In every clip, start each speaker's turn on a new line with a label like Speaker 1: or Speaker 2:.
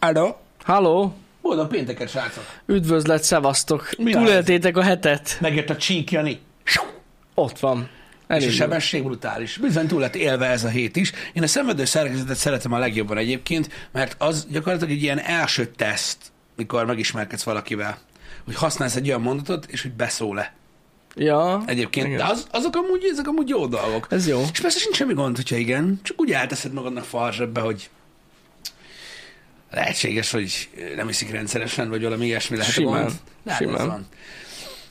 Speaker 1: Hello.
Speaker 2: Halló!
Speaker 1: Boldog pénteket, srácok.
Speaker 2: Üdvözlet, szevasztok!
Speaker 1: Mi
Speaker 2: Túléltétek a hetet?
Speaker 1: Megjött a csík, Jani.
Speaker 2: Ott van.
Speaker 1: És a
Speaker 2: Elindul.
Speaker 1: sebesség brutális. Bizony túl lett élve ez a hét is. Én a szenvedő szerkezetet szeretem a legjobban egyébként, mert az gyakorlatilag egy ilyen első teszt, mikor megismerkedsz valakivel. Hogy használsz egy olyan mondatot, és hogy beszól-e.
Speaker 2: Ja.
Speaker 1: Egyébként,
Speaker 2: Igen.
Speaker 1: de az, azok, amúgy, ezek amúgy jó dolgok.
Speaker 2: Ez jó.
Speaker 1: És persze sincs semmi gond, hogyha igen, csak úgy elteszed magadnak farzsebbe, hogy lehetséges, hogy nem iszik rendszeresen, vagy valami ilyesmi lehet a
Speaker 2: Simán.
Speaker 1: gond. Lehet,
Speaker 2: Simán.
Speaker 1: az van.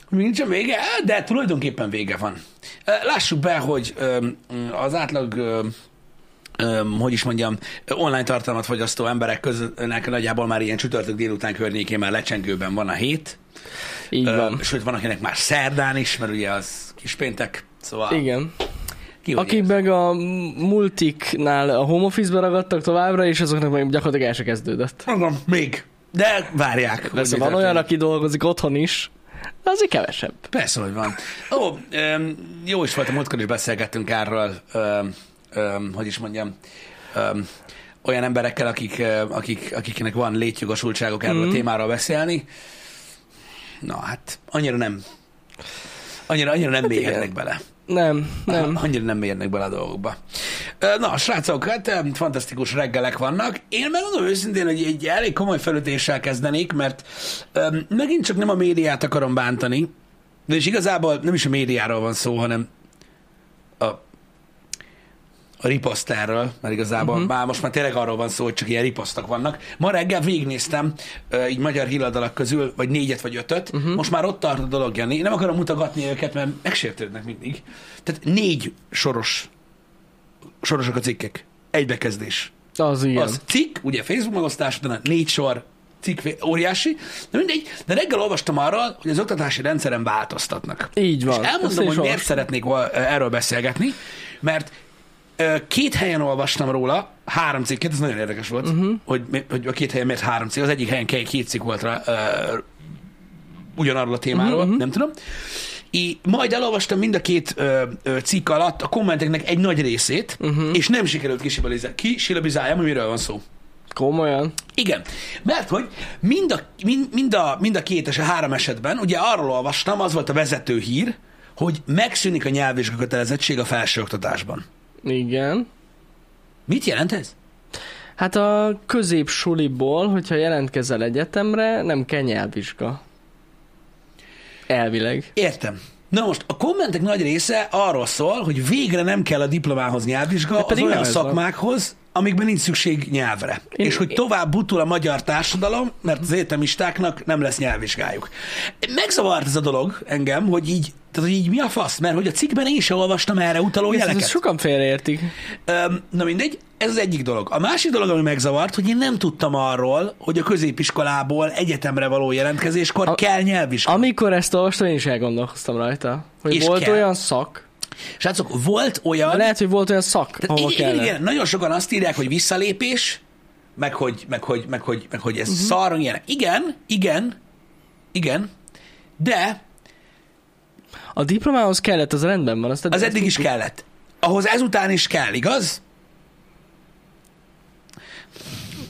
Speaker 1: Még Nincs a vége, de tulajdonképpen vége van. Lássuk be, hogy öm, az átlag öm, öm, hogy is mondjam, online tartalmat fogyasztó emberek közönek nagyjából már ilyen csütörtök délután környékén már lecsengőben van a hét.
Speaker 2: Így
Speaker 1: Ö,
Speaker 2: van.
Speaker 1: Sőt, van, akinek már szerdán is, mert ugye az kis péntek, szóval
Speaker 2: Igen.
Speaker 1: ki hogy
Speaker 2: Akik
Speaker 1: érzi.
Speaker 2: meg a multiknál a home office-be ragadtak továbbra, és azoknak meg gyakorlatilag el se kezdődött.
Speaker 1: Mondom, még. De várják. hogy
Speaker 2: Persze
Speaker 1: mi
Speaker 2: van olyan,
Speaker 1: történik.
Speaker 2: aki dolgozik otthon is, de azért kevesebb.
Speaker 1: Persze, hogy van. Ó, öm, jó is volt, a múltkor is beszélgettünk erről, öm, öm, hogy is mondjam, öm, olyan emberekkel, akik, öm, akik, akiknek van létjogosultságok erről
Speaker 2: Mhm.
Speaker 1: mm. a témáról beszélni. Na hát, annyira nem. Annyira, annyira nem hát mélyednek
Speaker 2: igen.
Speaker 1: bele.
Speaker 2: Nem, nem.
Speaker 1: Annyira nem mérnek bele a dolgokba. Ö, Na, srácok, hát em, fantasztikus reggelek vannak. Én megmondom őszintén, hogy egy elég komoly felütéssel kezdenék, mert em, megint csak nem a médiát akarom bántani, de és igazából nem is a médiáról van szó, hanem a, a riposzterről, mert igazából uh-huh. már most már tényleg arról van szó, hogy csak ilyen riposztak vannak. Ma reggel végignéztem ö, így magyar híradalak közül, vagy négyet vagy ötöt, uh-huh. most már ott tart a dolog, Jani. Én nem akarom mutogatni őket, mert megsértődnek mindig. Tehát négy soros, sorosak a cikkek. Egybekezdés.
Speaker 2: Az igen.
Speaker 1: Az cikk, ugye Facebook megosztás, utána négy sor cikk, vé- óriási. De mindegy, de reggel olvastam arról, hogy az oktatási rendszeren változtatnak.
Speaker 2: Így van.
Speaker 1: És
Speaker 2: Ezt
Speaker 1: elmondom,
Speaker 2: én
Speaker 1: hogy
Speaker 2: is
Speaker 1: miért
Speaker 2: olvastam.
Speaker 1: szeretnék val- erről beszélgetni, mert ö, két helyen olvastam róla, három cikket, ez nagyon érdekes volt,
Speaker 2: Mhm.
Speaker 1: uh-huh. hogy, mi- hogy a két helyen miért három cikk, az egyik helyen ke- két cikk volt rá, ö, ugyanarról a témáról,
Speaker 2: Mhm,
Speaker 1: uh-huh. nem tudom. I, majd elolvastam mind a két ö, ö, cikk alatt a kommenteknek egy nagy részét,
Speaker 2: Mhm.
Speaker 1: uh-huh. és nem sikerült kisibiliz- kisilabizáljam, hogy miről van szó.
Speaker 2: Komolyan.
Speaker 1: Igen, mert hogy mind a, mind, mind, a, mind a két és a három esetben, ugye arról olvastam, az volt a vezető hír, hogy megszűnik a nyelvvizsga kötelezettség a felsőoktatásban.
Speaker 2: Igen.
Speaker 1: Mit jelent ez?
Speaker 2: Hát a középsuliból, hogyha jelentkezel egyetemre, nem kell nyelvvizsga. Elvileg.
Speaker 1: Értem. Na most, a kommentek nagy része arról szól, hogy végre nem kell a diplomához nyelvvizsga az
Speaker 2: pedig
Speaker 1: olyan
Speaker 2: nem ez van.
Speaker 1: szakmákhoz, amikben nincs szükség nyelvre. Én,
Speaker 2: Én-
Speaker 1: és hogy tovább butul a magyar társadalom, mert az egyetemistáknak nem lesz nyelvvizsgájuk. Megzavart ez a dolog engem, hogy így, tehát, hogy így mi a fasz, mert hogy a cikkben én sem olvastam erre utaló
Speaker 2: Ezt,
Speaker 1: jeleket.
Speaker 2: ezt sokan félreértik.
Speaker 1: Öm, Na mindegy, ez az egyik dolog. A másik dolog, ami megzavart, hogy én nem tudtam arról, hogy a középiskolából egyetemre való jelentkezéskor
Speaker 2: A-
Speaker 1: kell nyelvvizsga.
Speaker 2: Amikor ezt olvastam, én is elgondolkoztam rajta. Hogy
Speaker 1: És
Speaker 2: volt
Speaker 1: kell.
Speaker 2: olyan szak.
Speaker 1: Srácok, volt olyan...
Speaker 2: Lehet, hogy volt olyan szak,
Speaker 1: Tehát
Speaker 2: ahol
Speaker 1: igen,
Speaker 2: kellett.
Speaker 1: igen, nagyon sokan azt írják, hogy visszalépés, meg hogy, meg hogy, meg hogy, meg hogy ez
Speaker 2: Mhm.
Speaker 1: uh-huh. szar, meg ilyenek. Igen, igen, igen, de
Speaker 2: A diplomához kellett, az rendben van. Azt
Speaker 1: az eddig is kellett. Ahhoz ezután is kell, igaz?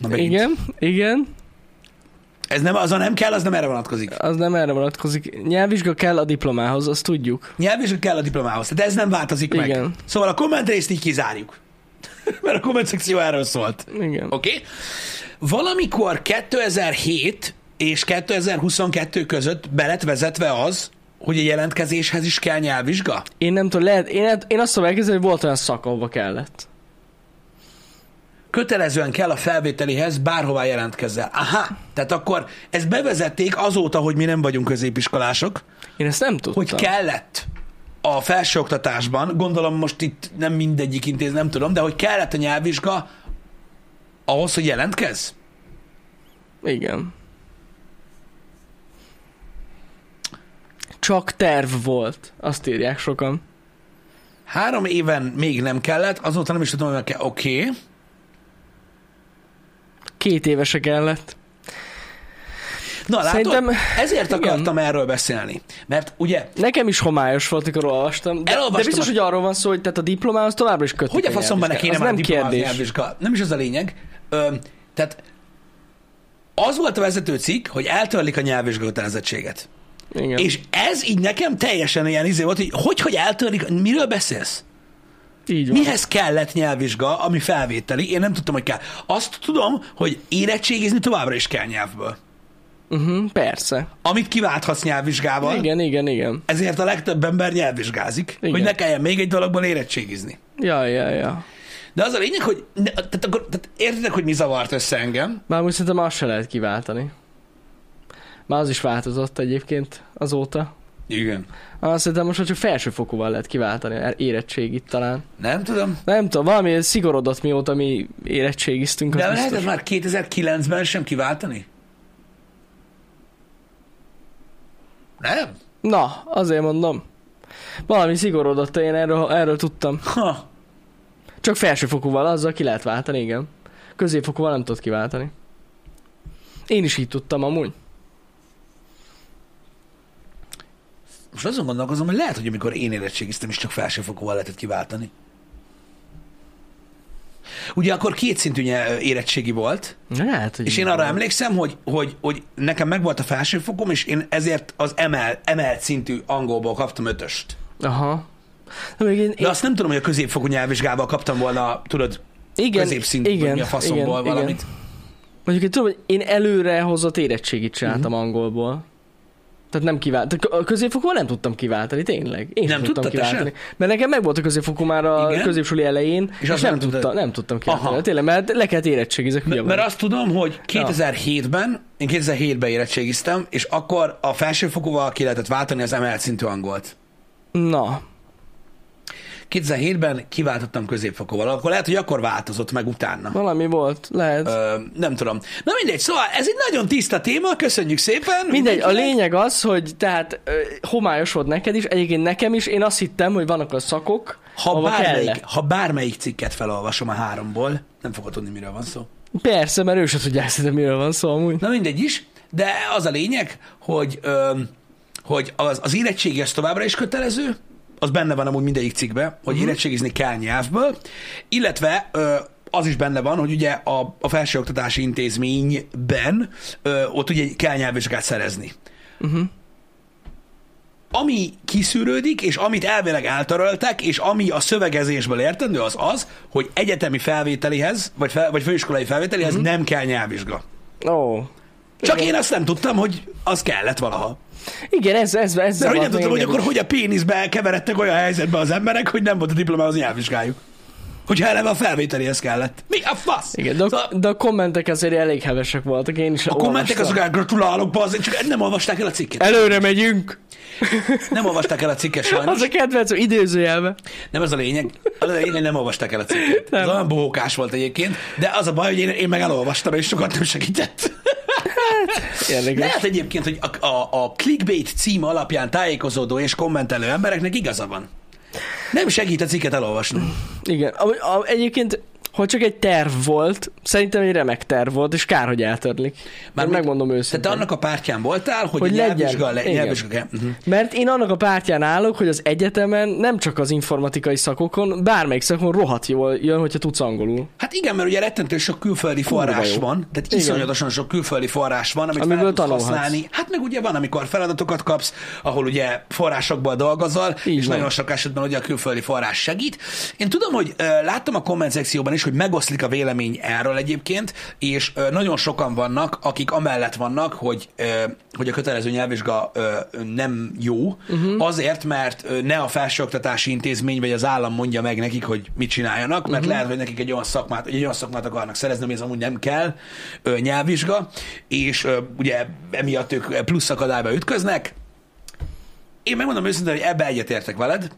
Speaker 1: Na, megint.
Speaker 2: Igen, igen,
Speaker 1: Ez nem, az a nem kell, az nem erre vonatkozik.
Speaker 2: az nem erre vonatkozik. Nyelvvizsga kell a diplomához, azt tudjuk.
Speaker 1: nyelvvizsga kell a diplomához. Tehát ez nem változik Igen. meg.
Speaker 2: Igen.
Speaker 1: Szóval a komment részt így kizárjuk. Mert a komment szekció erről szólt.
Speaker 2: Igen.
Speaker 1: Oké? Okay? Valamikor 2007 és 2022 között be lett vezetve az, hogy a jelentkezéshez is kell nyelvvizsga?
Speaker 2: Én nem tudom, lehet, én, én azt tudom elképzelni, hogy volt olyan szak, ahova kellett.
Speaker 1: Kötelezően kell a felvételihez bárhová jelentkezzel. Aha, tehát akkor ezt bevezették azóta, hogy mi nem vagyunk középiskolások,
Speaker 2: Én ezt nem tudtam.
Speaker 1: hogy kellett a felsőoktatásban, gondolom most itt nem mindegyik intéz, nem tudom, de hogy kellett a nyelvvizsga ahhoz, hogy jelentkez?
Speaker 2: Igen. Csak terv volt, azt írják sokan.
Speaker 1: Három éven még nem kellett, azóta nem is tudom, hogy kell. Oké. Okay.
Speaker 2: Két évese kellett.
Speaker 1: Na látod, Szerintem...
Speaker 2: Szerintem-
Speaker 1: ezért
Speaker 2: igen.
Speaker 1: akartam erről beszélni. Mert ugye,
Speaker 2: Nekem is homályos volt, amikor olvastam. De,
Speaker 1: Elolvastam
Speaker 2: de biztos,
Speaker 1: a-
Speaker 2: hogy arról van szó, hogy tehát a diplomához továbbra is kötik.
Speaker 1: hogy a faszomban ne
Speaker 2: nyelvvizsgát.
Speaker 1: kéne
Speaker 2: Az
Speaker 1: már
Speaker 2: nem
Speaker 1: diplomázni
Speaker 2: kérdés.
Speaker 1: nyelvvizsga? Nem is az a lényeg. Ö, tehát az volt a vezető cikk, hogy eltörlik a nyelvvizsga kötelezettséget.
Speaker 2: Igen.
Speaker 1: És ez így nekem teljesen ilyen izé volt, hogy hogy, hogy eltörlik, miről beszélsz?
Speaker 2: így van.
Speaker 1: Mihez kellett nyelvvizsga, ami felvételi? Én nem tudtam, hogy kell. Azt tudom, hogy érettségizni továbbra is kell nyelvből.
Speaker 2: Uh-huh, persze.
Speaker 1: Amit kiválthatsz nyelvvizsgával,
Speaker 2: Igen, igen, igen.
Speaker 1: ezért a legtöbb ember nyelvvizsgázik,
Speaker 2: Igen.
Speaker 1: hogy ne kelljen még egy dologban érettségizni.
Speaker 2: Ja, ja, ja.
Speaker 1: De az a lényeg, hogy ne, tehát akkor, tehát értitek, hogy mi zavart össze engem?
Speaker 2: Bár most szerintem azt se lehet kiváltani. Már az is változott egyébként azóta.
Speaker 1: Igen.
Speaker 2: Azt szerintem most már csak felsőfokúval lehet kiváltani, er- érettségit talán.
Speaker 1: Nem tudom.
Speaker 2: Nem tudom, valami szigorodott mióta mi érettségiztünk. az
Speaker 1: De
Speaker 2: biztos.
Speaker 1: lehet ez már 2009-ben sem kiváltani? Nem?
Speaker 2: Na, azért mondom. Valami szigorodott, én erről, erről tudtam.
Speaker 1: Ha.
Speaker 2: Csak felsőfokúval, azzal ki lehet váltani, igen. Középfokúval nem tudod kiváltani. Én is így tudtam amúgy.
Speaker 1: Most azon gondolkozom, hogy lehet, hogy amikor én érettségiztem, is csak felsőfokúval lehetett kiváltani. Ugye akkor kétszintű nyel- érettségi volt,
Speaker 2: Lehet, hogy
Speaker 1: és
Speaker 2: így
Speaker 1: én arra
Speaker 2: van.
Speaker 1: emlékszem, hogy, hogy, hogy nekem megvolt a felsőfokom, és én ezért az emel, emelt szintű angolból kaptam ötöst.
Speaker 2: Aha. Na, még én,
Speaker 1: De azt nem tudom, hogy a középfokú nyelvvizsgával kaptam volna, tudod,
Speaker 2: igen,
Speaker 1: középszintű, igen, vagy mi a faszomból igen, valamit. Igen.
Speaker 2: Mondjuk én tudom, hogy én előre hozott érettségit csináltam mm-hmm. angolból. Tehát nem kivált. A középfokúval nem tudtam kiváltani, tényleg. Én
Speaker 1: Nem
Speaker 2: sem tudtam
Speaker 1: tudtad te
Speaker 2: kiváltani. Mert nekem meg volt a középfokú már a
Speaker 1: Igen.
Speaker 2: Igen. középsuli elején, és,
Speaker 1: azt
Speaker 2: és nem,
Speaker 1: nem tudtad.
Speaker 2: tudta, nem tudtam kiváltani.
Speaker 1: Aha.
Speaker 2: Aha. Tényleg, mert le kellett érettségizek. hülye
Speaker 1: Mert
Speaker 2: vagy.
Speaker 1: azt tudom, hogy 2007-ben, én 2007-ben érettségiztem, és akkor a felsőfokúval ki lehetett váltani az emelt szintű angolt.
Speaker 2: Na,
Speaker 1: 2007-ben kiváltottam középfokúval, akkor lehet, hogy akkor változott meg utána.
Speaker 2: valami volt, lehet.
Speaker 1: Ö, nem tudom. Na mindegy, szóval ez egy nagyon tiszta téma, köszönjük szépen.
Speaker 2: Mindegy, a
Speaker 1: mindenkinek.
Speaker 2: lényeg az, hogy tehát ö, homályos volt neked is, egyébként nekem is, én azt hittem, hogy vannak a szakok,
Speaker 1: Ha
Speaker 2: ahova
Speaker 1: bármelyik,
Speaker 2: kellett.
Speaker 1: ha bármelyik cikket felolvasom a háromból, nem fogod tudni, miről van szó.
Speaker 2: Persze, mert ő se tudja szerintem, miről van szó amúgy.
Speaker 1: Na mindegy is, de az a lényeg, hogy, öm, hogy az, az érettségi az továbbra is kötelező, az benne van amúgy mindegyik cikkben, hogy uh-huh. érettségizni kell nyelvből, illetve ö, az is benne van, hogy ugye a, a felsőoktatási intézményben ö, ott ugye kell nyelvvizsgát szerezni. ami kiszűrődik, és amit elvileg eltöröltek, és ami a szövegezésből értendő, az az, hogy egyetemi felvételihez, vagy, fel, vagy főiskolai felvételihez mm-hmm. nem kell nyelvvizsga.
Speaker 2: Ó.
Speaker 1: Csak én azt nem tudtam, hogy az kellett valaha.
Speaker 2: Igen, ez, ez, ez
Speaker 1: De hogy
Speaker 2: zavart
Speaker 1: nem tudtam, hogy
Speaker 2: engem
Speaker 1: akkor
Speaker 2: is.
Speaker 1: hogy a péniszbe keveredtek olyan helyzetbe az emberek, hogy nem volt a diplomához nyelvvizsgájuk. Hogyha eleve a felvételihez kellett. Mi a fasz?
Speaker 2: Igen, de,
Speaker 1: Szóval
Speaker 2: a, de a kommentek azért elég hevesek voltak, én is
Speaker 1: a kommentek
Speaker 2: olvastam.
Speaker 1: azok el, gratulálok, bazd, csak nem olvasták el a cikket.
Speaker 2: Előre megyünk!
Speaker 1: Nem olvasták el a cikket sajnos.
Speaker 2: Az a kedvencem, idézőjelbe.
Speaker 1: Nem ez a lényeg. Az a lényeg, hogy nem olvasták el a cikket. Ez
Speaker 2: Nem.
Speaker 1: olyan bohókás volt egyébként, de az a baj, hogy én, én meg elolvastam, és sokat nem segített.
Speaker 2: Érdekes.
Speaker 1: Lehet egyébként, hogy a, a, a clickbait cím alapján tájékozódó és kommentelő embereknek igaza van. Nem segít a cikket
Speaker 2: Mm,
Speaker 1: elolvasni.
Speaker 2: Igen. A, a, egyébként, hogy csak egy terv volt, szerintem egy remek terv volt, és kár, hogy eltörlik. Már
Speaker 1: Mármint-
Speaker 2: megmondom őszintén.
Speaker 1: Tehát te annak a pártján voltál, hogy,
Speaker 2: Hogy
Speaker 1: hogy
Speaker 2: legyen.
Speaker 1: nyelvvizsga, le,
Speaker 2: Igen.
Speaker 1: nyelvvizsga kell. Mhm.
Speaker 2: Mert én annak a pártján állok, hogy az egyetemen nem csak az informatikai szakokon, bármelyik szakon rohadt jól jön, hogyha tudsz angolul.
Speaker 1: Hát igen, mert ugye rettentő sok külföldi forrás
Speaker 2: jó.
Speaker 1: van, tehát
Speaker 2: Igen.
Speaker 1: iszonyatosan sok külföldi forrás van, amit
Speaker 2: Amiből
Speaker 1: fel tudsz
Speaker 2: tanulhatsz.
Speaker 1: használni. Hát meg ugye van, amikor feladatokat kapsz, ahol ugye forrásokból dolgozol,
Speaker 2: Így
Speaker 1: és
Speaker 2: van.
Speaker 1: nagyon sok esetben ugye a külföldi forrás segít. Én tudom, hogy ö, láttam a komment szekcióban is, hogy megoszlik a vélemény erről egyébként, és ö, nagyon sokan vannak, akik amellett vannak, hogy ö, hogy a kötelező nyelvvizsga ö, nem jó, uh-huh. azért, mert ö, ne a felsőoktatási intézmény vagy az állam mondja meg nekik, hogy mit csináljanak, mert uh-huh. lehet, hogy nekik egy olyan szakmát, egy olyan szakmát akarnak szerezni, ami ez amúgy nem kell, ö, nyelvvizsga, és ö, ugye emiatt ők plusz akadályba ütköznek. Én megmondom őszintén, hogy ebbe egyetértek veled,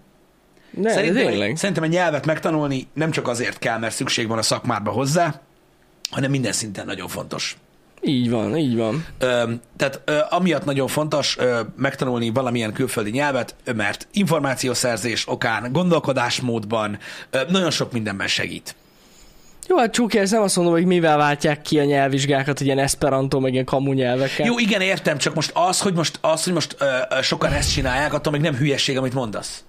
Speaker 2: Ne, Szerintem
Speaker 1: Szerintem,
Speaker 2: tényleg.
Speaker 1: szerintem a nyelvet megtanulni nem csak azért kell, mert szükség van a szakmádba hozzá, hanem minden szinten nagyon fontos.
Speaker 2: Így van, így van.
Speaker 1: Ö, tehát ö, amiatt nagyon fontos ö, megtanulni valamilyen külföldi nyelvet, ö, mert információszerzés okán, gondolkodásmódban ö, nagyon sok mindenben segít.
Speaker 2: Jó, hát csúki, ezt nem azt mondom, hogy mivel váltják ki a nyelvvizsgákat, ilyen esperanto, meg ilyen kamu nyelvekkel.
Speaker 1: Jó, igen, értem, csak most az, hogy most, az, hogy most ö, ö, sokan ezt csinálják, attól még nem hülyeség, amit mondasz.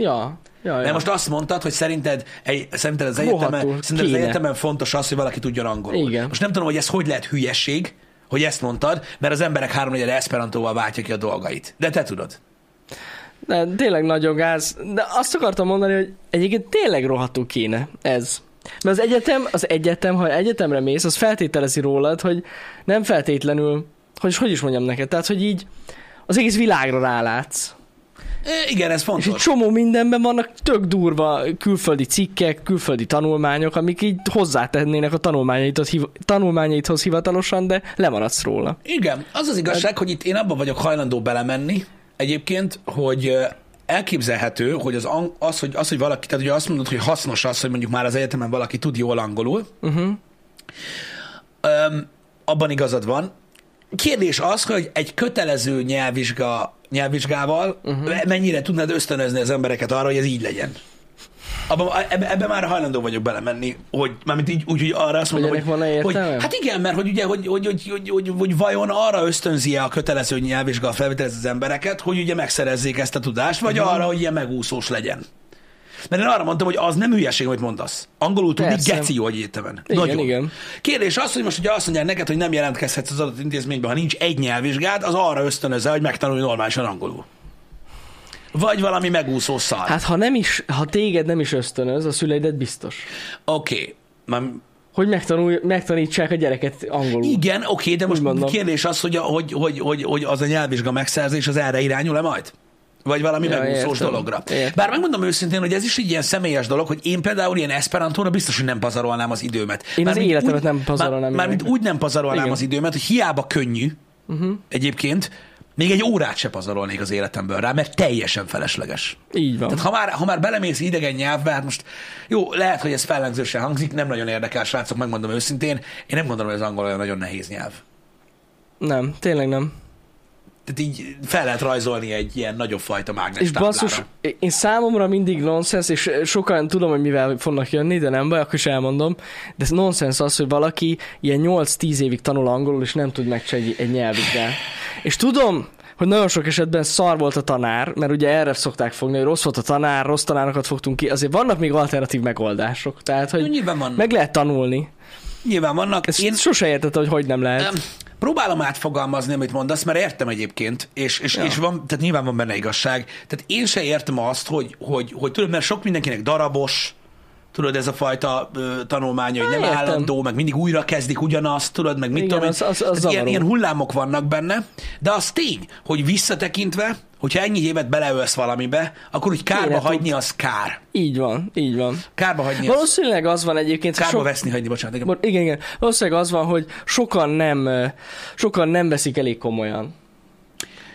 Speaker 2: Ja, ja, ja.
Speaker 1: De most azt mondtad, hogy szerinted, egy, szerinted, az,
Speaker 2: Rohadtul
Speaker 1: egyetemen, szerinted az
Speaker 2: kéne.
Speaker 1: egyetemen fontos az, hogy valaki tudjon angolul.
Speaker 2: Igen.
Speaker 1: Most nem tudom, hogy ez hogy lehet hülyeség, hogy ezt mondtad, mert az emberek háromnegyed esperantóval váltja ki a dolgait. De te tudod.
Speaker 2: De tényleg nagyon gáz. De azt akartam mondani, hogy egyébként tényleg rohadtul kéne ez. Mert az egyetem, az egyetem, ha egyetemre mész, az feltételezi rólad, hogy nem feltétlenül, hogy hogy is mondjam neked, tehát hogy így az egész világra rálátsz.
Speaker 1: E, igen, ez
Speaker 2: És egy
Speaker 1: fontos.
Speaker 2: csomó mindenben vannak tök durva külföldi cikkek, külföldi tanulmányok, amik így hozzátennének a tanulmányaidhoz, hiv- tanulmányaidhoz hivatalosan, de lemaradsz róla.
Speaker 1: Igen, az az igazság, hogy itt én abban vagyok hajlandó belemenni egyébként, hogy ö, elképzelhető, hogy az, ang- az, hogy, az, hogy valaki, tehát ugye azt mondod, hogy hasznos az, hogy mondjuk már az egyetemen valaki tud jól angolul,
Speaker 2: Uh-huh.
Speaker 1: Öm, abban igazad van. Kérdés az, hogy egy kötelező nyelvvizsga, nyelvvizsgával
Speaker 2: Mhm.
Speaker 1: uh-huh. mennyire tudnád ösztönözni az embereket arra, hogy ez így legyen? Abban, ebbe, ebbe már hajlandó vagyok belemenni, hogy mármint így, úgy, hogy arra azt
Speaker 2: Hogy
Speaker 1: mondom, hogy,
Speaker 2: ennek van-e
Speaker 1: hogy
Speaker 2: értelme?
Speaker 1: hát igen, mert hogy ugye, hogy, hogy, hogy, hogy, hogy, hogy vajon arra ösztönzi-e a kötelező nyelvvizsga felvételez az embereket, hogy ugye megszerezzék ezt a tudást,
Speaker 2: Mhm.
Speaker 1: vagy arra, hogy ilyen megúszós legyen. Mert én arra mondtam, hogy az nem hülyeség, amit mondasz. Angolul tudni
Speaker 2: Persze.
Speaker 1: geci jó egyetemen.
Speaker 2: Igen,
Speaker 1: Nagyon.
Speaker 2: igen.
Speaker 1: Kérdés az, hogy most ugye azt mondják neked, hogy nem jelentkezhetsz az adott intézménybe, ha nincs egy nyelvvizsgád, az arra ösztönözze, hogy megtanulj normálisan angolul. Vagy valami megúszó szar. Hát,
Speaker 2: Hát ha nem is, ha téged nem is ösztönöz, a szüleidet biztos.
Speaker 1: oké. Már-
Speaker 2: Hogy megtanulj, megtanítsák a gyereket angolul.
Speaker 1: Szóval Igen, oké, de most
Speaker 2: Szóval Úgy mondom.
Speaker 1: kérdés az, hogy, a, hogy, hogy, hogy, hogy az a nyelvvizsga megszerzés az erre irányul-e majd? Vagy valami
Speaker 2: Ja,
Speaker 1: ja, megúszós
Speaker 2: értem.
Speaker 1: dologra.
Speaker 2: Értem.
Speaker 1: Bár megmondom őszintén, hogy ez is egy ilyen személyes dolog, hogy én például ilyen esperantóra biztos, hogy nem pazarolnám az időmet.
Speaker 2: Én az
Speaker 1: Mármint
Speaker 2: életemet nem pazarolnám
Speaker 1: Már, mármint
Speaker 2: ilyenekre.
Speaker 1: úgy nem pazarolnám
Speaker 2: Igen. Mhm.
Speaker 1: az időmet, hogy hiába könnyű uh-huh. egyébként, még egy órát se pazarolnék az életemből rá, mert teljesen felesleges.
Speaker 2: Így van.
Speaker 1: Tehát ha már, ha már belemész idegen nyelvbe, hát most jó, lehet, hogy ez fellengzősen hangzik, nem nagyon érdekel, srácok, megmondom őszintén, én nem gondolom, hogy az angol olyan nagyon nehéz nyelv.
Speaker 2: Nem, tényleg nem.
Speaker 1: Tehát így fel lehet rajzolni egy ilyen nagyobb fajta mágnes
Speaker 2: És basszus,
Speaker 1: táblára.
Speaker 2: én számomra mindig nonsens, és eh, sokan tudom, hogy mivel fognak jönni, de nem baj, akkor is elmondom. De ez nonsens az, hogy valaki ilyen 8-10 évig tanul angolul, és nem tud megcsinálni egy nyelvvizsgát. És tudom, hogy nagyon sok esetben szar volt a tanár, mert ugye erre szokták fogni, hogy rossz volt a tanár, rossz tanárokat fogtunk ki, azért vannak még alternatív megoldások. Tehát,
Speaker 1: Jó,
Speaker 2: hogy
Speaker 1: Nyilván vannak. Meg...
Speaker 2: meg lehet tanulni.
Speaker 1: Nyilván vannak.
Speaker 2: Ezt
Speaker 1: Én
Speaker 2: én sose értettem, hogy hogy nem lehet.
Speaker 1: em, próbálom átfogalmazni, amit mondasz, mert értem egyébként, és, és, ja. és van, tehát nyilván van benne igazság. Tehát én se értem azt, hogy, hogy, hogy tudod, mert sok mindenkinek darabos, tudod, ez a fajta ö, tanulmánya, hogy
Speaker 2: Há,
Speaker 1: nem
Speaker 2: értem.
Speaker 1: állandó, meg mindig újra kezdik ugyanazt, tudod, meg mit
Speaker 2: Igen,
Speaker 1: tudom én.
Speaker 2: az- az- az
Speaker 1: Tehát ilyen,
Speaker 2: zavaró.
Speaker 1: ilyen hullámok vannak benne, de az tény, hogy visszatekintve, hogyha ennyi évet beleölsz valamibe, akkor úgy kárba
Speaker 2: Kéne tud.
Speaker 1: hagyni, az kár.
Speaker 2: Így van, így van.
Speaker 1: Kárba hagyni az
Speaker 2: Valószínűleg az van egyébként, hogy
Speaker 1: Kárba
Speaker 2: sok
Speaker 1: veszni hagyni, bocsánat. Igen.
Speaker 2: Bor- Igen, igen. Valószínűleg az van, hogy sokan nem, ö, sokan nem veszik elég komolyan.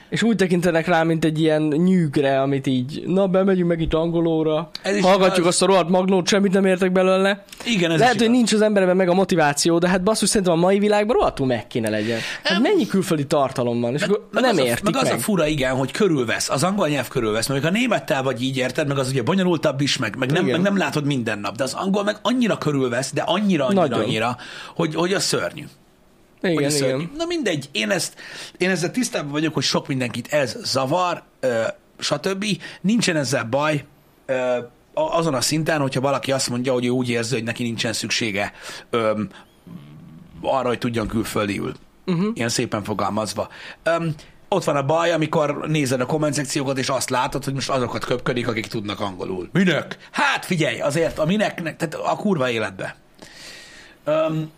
Speaker 2: És úgy tekintenek rá, mint egy ilyen nyűgre, amit így, na, bemegyünk meg itt angolóra,
Speaker 1: Ez is
Speaker 2: hallgatjuk
Speaker 1: igaz.
Speaker 2: azt a rohadt magnót, semmit nem értek belőle.
Speaker 1: Igen, ez
Speaker 2: Lehet,
Speaker 1: is
Speaker 2: hogy
Speaker 1: igaz.
Speaker 2: nincs az emberben meg a motiváció, de hát basszus, szerintem a mai világban rohadtul meg kéne legyen. Hát mennyi külföldi tartalom van, és akkor
Speaker 1: Meg
Speaker 2: nem
Speaker 1: az a,
Speaker 2: értik
Speaker 1: meg,
Speaker 2: meg.
Speaker 1: az a fura, igen, hogy körülvesz, az angol nyelv körülvesz, mert mondjuk a némettel vagy így érted, meg az ugye bonyolultabb is, meg, meg, nem,
Speaker 2: Igen.
Speaker 1: meg nem látod minden nap, de az angol meg annyira körülvesz, de annyira, annyira,
Speaker 2: Nagyon.
Speaker 1: annyira, hogy, hogy a szörnyű.
Speaker 2: igen,
Speaker 1: hogy a szörnyű.
Speaker 2: igen.
Speaker 1: Na mindegy, én, ezt, én ezzel tisztában vagyok, hogy sok mindenkit ez zavar, ö, stb. Nincsen ezzel baj ö, a- azon a szinten, hogyha valaki azt mondja, hogy ő úgy érzi, hogy neki nincsen szüksége ö, arra, hogy tudjon külföldiül.
Speaker 2: Mhm.
Speaker 1: Uh-huh. Ilyen szépen fogalmazva. Ö, ott van a baj, amikor nézed a komment szekciókat, és azt látod, hogy most azokat köpködik, akik tudnak angolul. Minek? Hát figyelj, azért a mineknek, tehát a kurva életbe. Öm,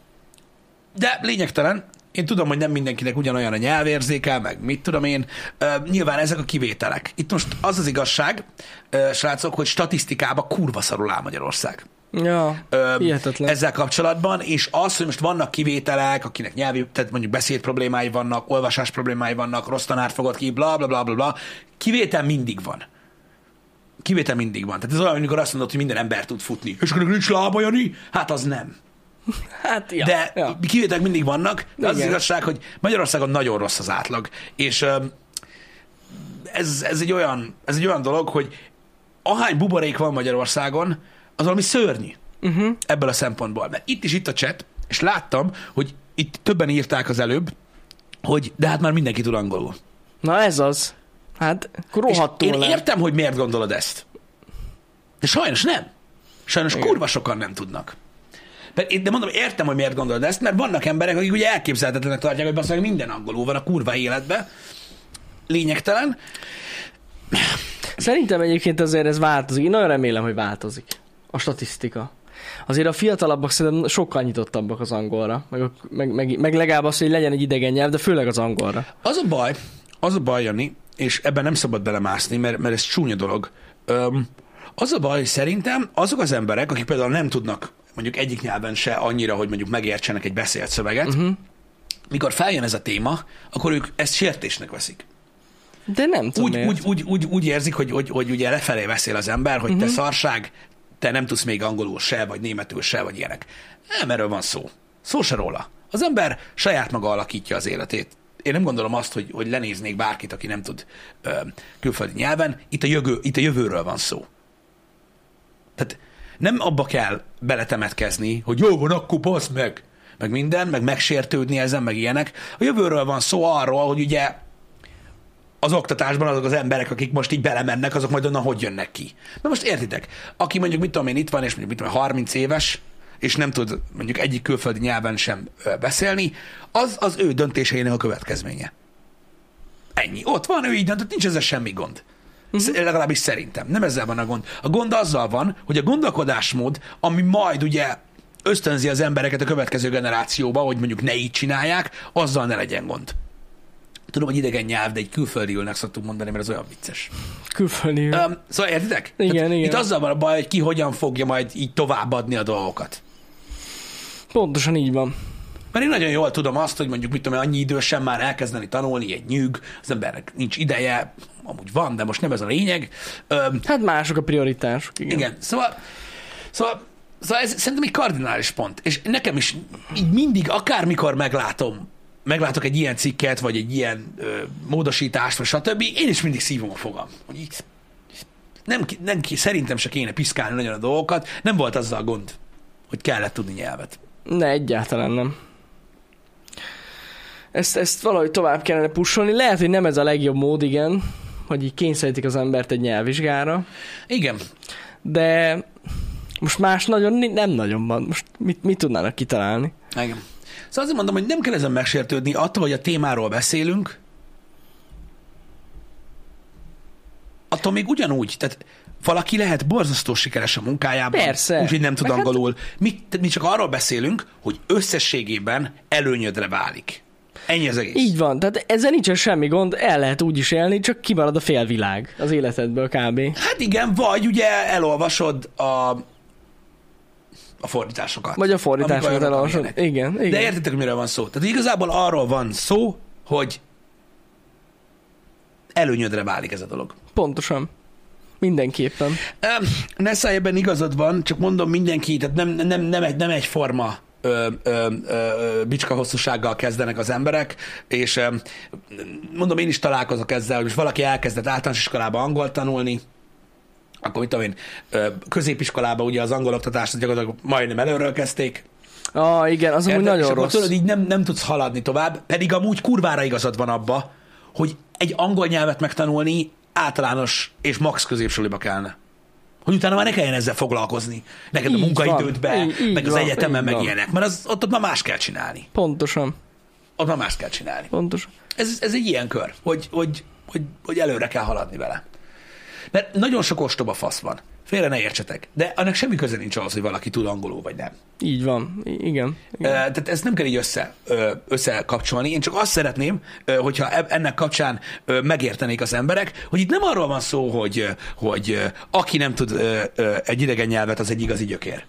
Speaker 1: de lényegtelen, én tudom, hogy nem mindenkinek ugyanolyan a nyelvérzéke, meg mit tudom én. Ö, nyilván ezek a kivételek. Itt most az az igazság, ö, srácok, hogy statisztikába kurva szarul áll Magyarország.
Speaker 2: Ja,
Speaker 1: Ö,
Speaker 2: hihetetlen.
Speaker 1: ezzel kapcsolatban, és az, hogy most vannak kivételek, akinek nyelvi, tehát mondjuk beszéd problémái vannak, olvasás problémái vannak, rossz tanárt fogod ki, bla bla bla bla bla. Kivétel mindig van. Kivétel mindig van. Tehát ez olyan, amikor azt mondod, hogy minden ember tud futni. És akkor nincs lába, Jani? Hát az nem.
Speaker 2: hát, ja,
Speaker 1: De
Speaker 2: ja.
Speaker 1: kivételek mindig vannak, de az, az
Speaker 2: Igen.
Speaker 1: igazság, hogy Magyarországon nagyon rossz az átlag. És öm, ez, ez, egy olyan, ez egy olyan dolog, hogy ahány buborék van Magyarországon, az valami szörnyű
Speaker 2: Mhm.
Speaker 1: uh-huh. ebből a szempontból. Mert itt is itt a chat, és láttam, hogy itt többen írták az előbb, hogy de hát már mindenki tud angolul.
Speaker 2: Na ez az. Hát, akkor
Speaker 1: És
Speaker 2: rohadtul
Speaker 1: én
Speaker 2: nem.
Speaker 1: értem, hogy miért gondolod ezt. De sajnos nem. Sajnos Igen. kurva sokan nem tudnak. De, de mondom, értem, hogy miért gondolod ezt, mert vannak emberek, akik ugye elképzelhetetlenek tartják, hogy basszak minden angolul van a kurva életben. Lényegtelen.
Speaker 2: Szerintem egyébként azért ez változik. Én nagyon remélem, hogy változik a statisztika. Azért a fiatalabbak szerintem sokkal nyitottabbak az angolra, meg, a- meg, meg, meg legalább az, hogy legyen egy idegen nyelv, de főleg az angolra.
Speaker 1: Az a baj, az a baj, Jani, és ebben nem szabad belemászni, mert, mert ez csúnya dolog. Öm, az a baj, hogy szerintem azok az emberek, akik például nem tudnak mondjuk egyik nyelven se annyira, hogy mondjuk megértsenek egy beszélt szöveget, uh-huh. mikor feljön ez a téma, akkor ők ezt sértésnek veszik.
Speaker 2: De nem tudom
Speaker 1: Úgy,
Speaker 2: miért.
Speaker 1: úgy, úgy, úgy, úgy érzik, hogy, hogy, hogy ugye lefelé beszél az ember, hogy
Speaker 2: Mhm.
Speaker 1: uh-huh. te szarság, te nem tudsz még angolul se, vagy németül se, vagy ilyenek. Nem erről van szó. Szó se róla. Az ember saját maga alakítja az életét. Én nem gondolom azt, hogy, hogy lenéznék bárkit, aki nem tud ö, külföldi nyelven. Itt a, jövő, itt a jövőről van szó. Tehát nem abba kell beletemetkezni, hogy jó van, akkor baszd meg, meg minden, meg megsértődni ezen, meg ilyenek. A jövőről van szó arról, hogy ugye az oktatásban azok az emberek, akik most így belemennek, azok majd onnan hogy jönnek ki. Na most értitek, aki mondjuk mit tudom én itt van, és mondjuk mit tudom én, 30 éves, és nem tud mondjuk egyik külföldi nyelven sem ö, beszélni, az az ő döntéseinek a következménye. Ennyi. Ott van, ő így döntött, nincs ezzel semmi gond. Uh-huh. Legalábbis szerintem. Nem ezzel van a gond. A gond azzal van, hogy a gondolkodásmód, ami majd ugye ösztönzi az embereket a következő generációba, hogy mondjuk ne így csinálják, azzal ne legyen gond. Tudom, hogy idegen nyelv, de egy külföldi ülnek szoktuk mondani, mert az olyan vicces.
Speaker 2: Külföldi.
Speaker 1: Um, szóval értitek?
Speaker 2: Igen, igen.
Speaker 1: Itt azzal van a baj, hogy ki hogyan fogja majd így továbbadni a dolgokat.
Speaker 2: Pontosan így van.
Speaker 1: Mert én nagyon jól tudom azt, hogy mondjuk, mit tudom, én, annyi idősen már elkezdeni tanulni, egy nyűg, az embernek nincs ideje, amúgy van, de most nem ez a lényeg. Um,
Speaker 2: Hát mások a prioritások, igen.
Speaker 1: Igen, szóval, szóval, szóval ez szerintem egy kardinális pont, és nekem is így mindig, akármikor meglátom, meglátok egy ilyen cikket, vagy egy ilyen ö, módosítást, vagy stb., én is mindig szívom a fogam. Hogy így, nem, ki- nem, ki- szerintem se kéne piszkálni nagyon a dolgokat, nem volt azzal gond, hogy kellett tudni nyelvet.
Speaker 2: Ne, egyáltalán nem. Ezt, ezt valahogy tovább kellene pusolni. Lehet, hogy nem ez a legjobb mód, igen, hogy így kényszerítik az embert egy nyelvvizsgára,
Speaker 1: Igen,
Speaker 2: de most más nagyon ni- nem nagyon van. Most mit, mit tudnának kitalálni?
Speaker 1: igen. Szóval azért mondom, hogy nem kell ezen megsértődni, attól, hogy a témáról beszélünk, attól még ugyanúgy, tehát valaki lehet borzasztó sikeres a munkájában,
Speaker 2: Persze.
Speaker 1: úgyhogy nem tud
Speaker 2: Meg hát-
Speaker 1: angolul. Mi, tehát mi csak arról beszélünk, hogy összességében előnyödre válik. Ennyi az egész.
Speaker 2: Így van, tehát ezzel nincsen semmi gond, el lehet úgy is élni, csak kimarad a félvilág az életedből kb.
Speaker 1: Hát igen, vagy ugye elolvasod a, a fordításokat.
Speaker 2: Vagy a
Speaker 1: Amikor
Speaker 2: fordításokat
Speaker 1: olyanok,
Speaker 2: elolvasod.
Speaker 1: amilyenek.
Speaker 2: Igen, igen.
Speaker 1: De értitek, miről van szó. Tehát igazából arról van szó, hogy előnyödre válik ez a dolog.
Speaker 2: Pontosan. Mindenképpen.
Speaker 1: Öm, Nessa, ebben igazad van, csak mondom mindenki, tehát nem, nem, nem, egy, nem egyforma ö, ö, ö, ö, bicska hosszúsággal kezdenek az emberek, és ö, mondom, én is találkozok ezzel, hogy most valaki elkezdett általános iskolába angol tanulni, akkor mit tudom én, ö, középiskolában ugye az angol oktatást gyakorlatilag majdnem előről kezdték,
Speaker 2: Ah, igen, az amúgy
Speaker 1: Érted? és
Speaker 2: nagyon
Speaker 1: akkor
Speaker 2: rossz.
Speaker 1: tudod, így nem, nem tudsz haladni tovább, pedig amúgy kurvára igazad van abba, hogy egy angol nyelvet megtanulni általános és max középsuliba kellene. Hogy utána már ne kelljen ezzel foglalkozni. Neked a
Speaker 2: Így
Speaker 1: munkaidődbe,
Speaker 2: van, így- így
Speaker 1: meg az
Speaker 2: van,
Speaker 1: egyetemen,
Speaker 2: így
Speaker 1: meg
Speaker 2: van.
Speaker 1: ilyenek. Mert az, ott, ott már más kell csinálni.
Speaker 2: Pontosan.
Speaker 1: Ott már más kell csinálni.
Speaker 2: Pontosan.
Speaker 1: Ez, ez egy ilyen kör, hogy, hogy, hogy, hogy előre kell haladni vele. Mert nagyon sok ostoba fasz van. Félre ne értsetek. De annak semmi köze nincs ahhoz, hogy valaki tud angolul vagy nem.
Speaker 2: Így van. I- igen.
Speaker 1: Ö, Tehát ezt nem kell így össze, ö, összekapcsolni. Én csak azt szeretném, ö, hogyha eb- ennek kapcsán ö, megértenék az emberek, hogy itt nem arról van szó, hogy, ö, hogy ö, aki nem tud ö, ö, egy idegen nyelvet, az egy igazi gyökér.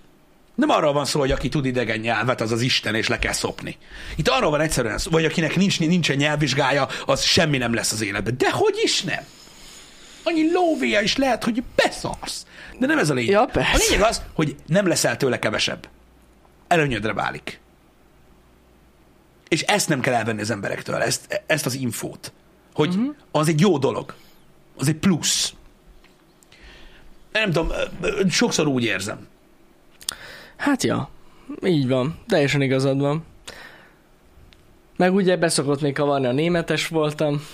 Speaker 1: Nem arról van szó, hogy aki tud idegen nyelvet, az az Isten, és le kell szopni. Itt arról van egyszerűen szó, vagy akinek nincs, nincsen nyelvvizsgája, az semmi nem lesz az életben. De hogy is nem? Annyi lóvéja is lehet, hogy beszarsz. De nem ez a lényeg.
Speaker 2: Ja,
Speaker 1: a
Speaker 2: persze.
Speaker 1: lényeg az, hogy nem leszel tőle kevesebb. Előnyödre válik. És ezt nem kell elvenni az emberektől, ezt, ezt az infót. Hogy
Speaker 2: Mhm.
Speaker 1: uh-huh. az egy jó dolog. Az egy plusz. Nem tudom, ö, ö, sokszor úgy érzem.
Speaker 2: Hát ja, így van, teljesen igazad van. Meg ugye beszokott még kavarni a németes voltam.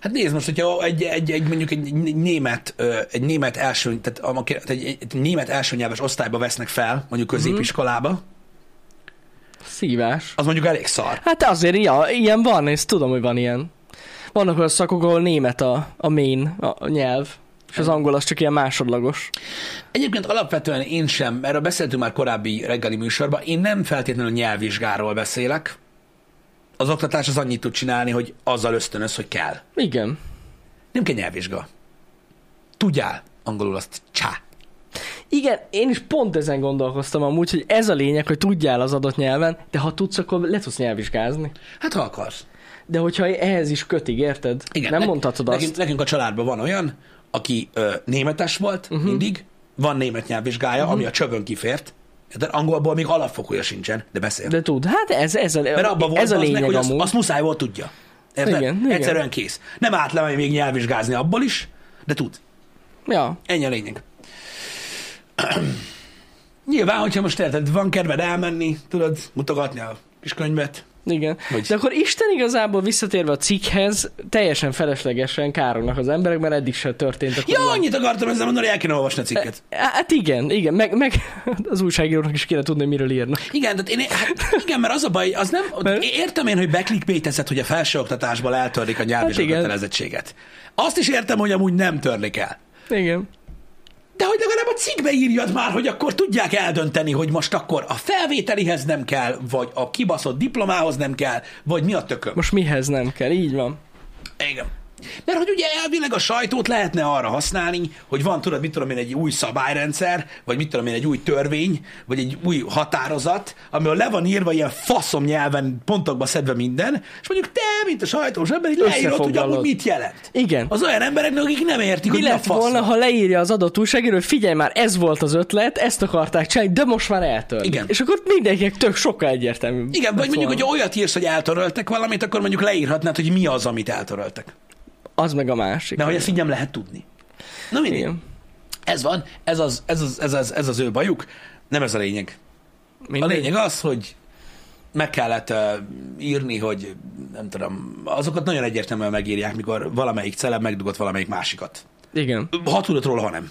Speaker 1: Hát nézd most, hogyha egy, egy, egy mondjuk egy német, ö, egy német első, tehát a- tehát egy, egy, egy német elsőnyelves osztályba vesznek fel, mondjuk középiskolába,
Speaker 2: Szívás.
Speaker 1: az mondjuk elég szar.
Speaker 2: Hát azért ja, ilyen van, és tudom, hogy van ilyen. Vannak olyan szakok, ahol német a, a main a a nyelv, és az angol az csak ilyen másodlagos.
Speaker 1: Egyébként alapvetően én sem, erről beszéltünk már korábbi reggeli műsorban, én nem feltétlenül nyelvvizsgáról beszélek. Az oktatás az annyit tud csinálni, hogy azzal ösztönöz, hogy kell.
Speaker 2: Igen.
Speaker 1: Nem kell nyelvvizsga. Tudjál angolul azt csá.
Speaker 2: Igen, én is pont ezen gondolkoztam amúgy, hogy ez a lényeg, hogy tudjál az adott nyelven, de ha tudsz, akkor le tudsz nyelvvizsgázni.
Speaker 1: Hát ha akarsz.
Speaker 2: De hogyha ehhez is kötig, érted?
Speaker 1: Igen,
Speaker 2: Nem
Speaker 1: nek-
Speaker 2: mondhatod azt.
Speaker 1: Nekünk, nekünk a családban van olyan, aki ö, németes volt
Speaker 2: Mhm.
Speaker 1: uh-huh. mindig, van német nyelvvizsgája, uh-huh. ami a csövön kifért, de angolból még alapfokúja sincsen, de beszél. De
Speaker 2: De tud, hát ez, ez a,
Speaker 1: Mert abban volt
Speaker 2: ez a
Speaker 1: az
Speaker 2: lényeg
Speaker 1: meg, hogy azt,
Speaker 2: amúgy.
Speaker 1: azt muszáj volt tudja. Érted?
Speaker 2: Igen, igen.
Speaker 1: Egyszerűen kész. Nem átlemegy még nyelvvizsgázni abból is, de tud.
Speaker 2: Ja,
Speaker 1: Ennyi a lényeg. Nyilván, hogyha most érted, van kedved elmenni, tudod, mutogatni a kis könyvet.
Speaker 2: igen.
Speaker 1: Hogy-
Speaker 2: De akkor Isten igazából visszatérve a cikkhez, teljesen feleslegesen kárognak az emberek, mert eddig se történt. akkor
Speaker 1: Ja,
Speaker 2: van.
Speaker 1: annyit akartam ezzel mondani, el kéne olvasni a cikket.
Speaker 2: Hát igen, igen, meg, meg az újságíróknak is kéne tudni, miről írnak.
Speaker 1: Igen, tehát én, hát igen, mert az a baj, az nem,
Speaker 2: Mert-
Speaker 1: értem én, hogy beklikbétezett, hogy a felsőoktatásból eltörlik a nyelvvizsga
Speaker 2: Hát igen.
Speaker 1: kötelezettséget. Azt is értem, hogy amúgy nem törlik el.
Speaker 2: Igen.
Speaker 1: De hogy legalább a cikkbe írjad már, hogy akkor tudják eldönteni, hogy most akkor a felvételihez nem kell, vagy a kibaszott diplomához nem kell, vagy mi a tököm.
Speaker 2: Most mihez nem kell, így van.
Speaker 1: Igen. Mert hogy ugye elvileg a sajtót lehetne arra használni, hogy van, tudod, mit tudom én, egy új szabályrendszer, vagy mit tudom én, egy új törvény, vagy egy új határozat, amivel le van írva ilyen faszom nyelven, pontokba szedve minden, és mondjuk te, mint a sajtós ember, így leírod, hogy
Speaker 2: Összefoglalod.
Speaker 1: amúgy mit jelent.
Speaker 2: Igen.
Speaker 1: Az olyan embereknek, akik nem értik,
Speaker 2: Mi
Speaker 1: hogy
Speaker 2: lett
Speaker 1: mi a fasz.
Speaker 2: volna,
Speaker 1: van.
Speaker 2: ha leírja az adott újságíró, hogy figyelj már, ez volt az ötlet, ezt akarták csinálni, de most már eltörlik.
Speaker 1: Igen.
Speaker 2: És akkor mindenkinek tök sokkal egyértelmű.
Speaker 1: Igen, vagy
Speaker 2: lett
Speaker 1: mondjuk,
Speaker 2: volna.
Speaker 1: hogy olyat írsz, hogy eltöröltek valamit, akkor mondjuk leírhatnád, hogy mi az, amit eltöröltek.
Speaker 2: Az meg a másik.
Speaker 1: De hogy ezt így nem lehet tudni. Na mindig.
Speaker 2: Igen.
Speaker 1: Ez van, ez az, ez, az, ez, az, ez az ő bajuk, nem ez a lényeg. A
Speaker 2: Mindegy.
Speaker 1: lényeg az, hogy meg kellett uh, írni, hogy nem tudom, azokat nagyon egyértelműen megírják, mikor valamelyik celeb megdugott valamelyik másikat.
Speaker 2: Igen,
Speaker 1: Ha tudod róla, ha nem.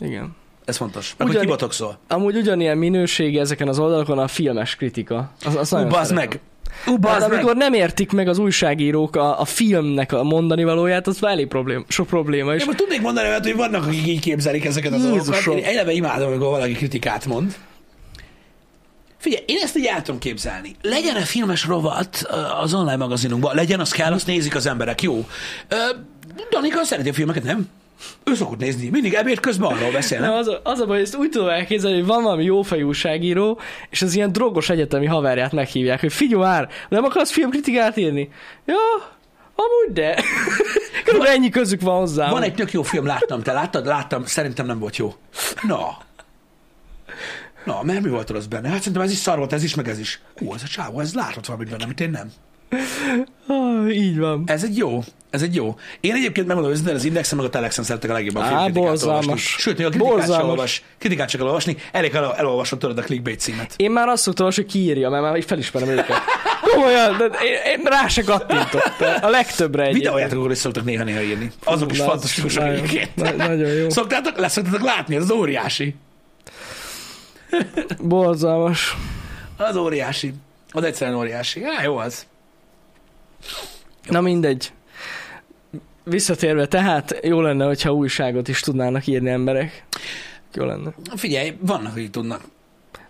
Speaker 2: igen.
Speaker 1: Ez fontos. Meg, hogy
Speaker 2: Ugyan-
Speaker 1: kibotoxol.
Speaker 2: Amúgy ugyanilyen minőség ezeken az oldalakon a filmes kritika. Az, az
Speaker 1: Ú,
Speaker 2: nagyon
Speaker 1: bazd
Speaker 2: szeretem.
Speaker 1: meg! Ú,
Speaker 2: Hát
Speaker 1: bazd meg!
Speaker 2: amikor nem értik meg az újságírók a, a filmnek a mondani valóját, az elég problém, sok probléma is.
Speaker 1: Én most tudnék mondani olyat, hogy vannak, akik így képzelik ezeket a dolgokat.
Speaker 2: Jézusom.
Speaker 1: Én eleve imádom, amikor valaki kritikát mond. Figyelj, én ezt így el tudom képzelni. Legyen-e filmes rovat ö, az online magazinunkban? Legyen, az kell, azt nézik az emberek, jó. Ö, Danika szereti a filmeket, nem? Ő szokott nézni, mindig ebéd közben arról beszél, nem?
Speaker 2: Na, az, a, az a baj, ezt úgy tudom elképzelni, hogy van valami jófejű újságíró, és az ilyen drogos egyetemi haverját meghívják, hogy figyelj már, nem akarsz filmkritikát írni? Ja, amúgy de. Körülbelül ennyi közük van hozzá.
Speaker 1: Van egy tök jó film, láttam, te láttad? Láttam, szerintem nem volt jó. Na. Na, mert mi volt az benne? Hát szerintem ez is szar volt, ez is, meg ez is. Ú, ez a csávó, ez látott valamit benne, amit én nem.
Speaker 2: Ah, így van.
Speaker 1: Ez egy jó, ez egy jó. Én egyébként megmondom őszintén, az Indexen meg a Telexen szeretek a legjobban
Speaker 2: Á,
Speaker 1: filmkritikát
Speaker 2: borzalmas.
Speaker 1: olvasni. Sőt, még a kritikát sem
Speaker 2: Borzalmas.
Speaker 1: olvas. Kritikát sem kell olvasni, elég el, elolvasod tőled a clickbait címet.
Speaker 2: Én már azt szoktam, hogy kiírja, mert már így felismerem őket. Komolyan, de én, én rá se kattintok. A legtöbbre egy.
Speaker 1: Videójátékokról is szoktak néha-néha írni. Azok is fantasztikusak egyébként.
Speaker 2: Nagyon jó.
Speaker 1: Szoktátok, leszoktátok látni, ez az óriási.
Speaker 2: Borzalmas.
Speaker 1: Az óriási. Az egyszerűen óriási. Á, jó az.
Speaker 2: Na mindegy. Visszatérve, tehát jó lenne, hogyha újságot is tudnának írni emberek. Jó lenne.
Speaker 1: Figyelj, vannak, akik tudnak.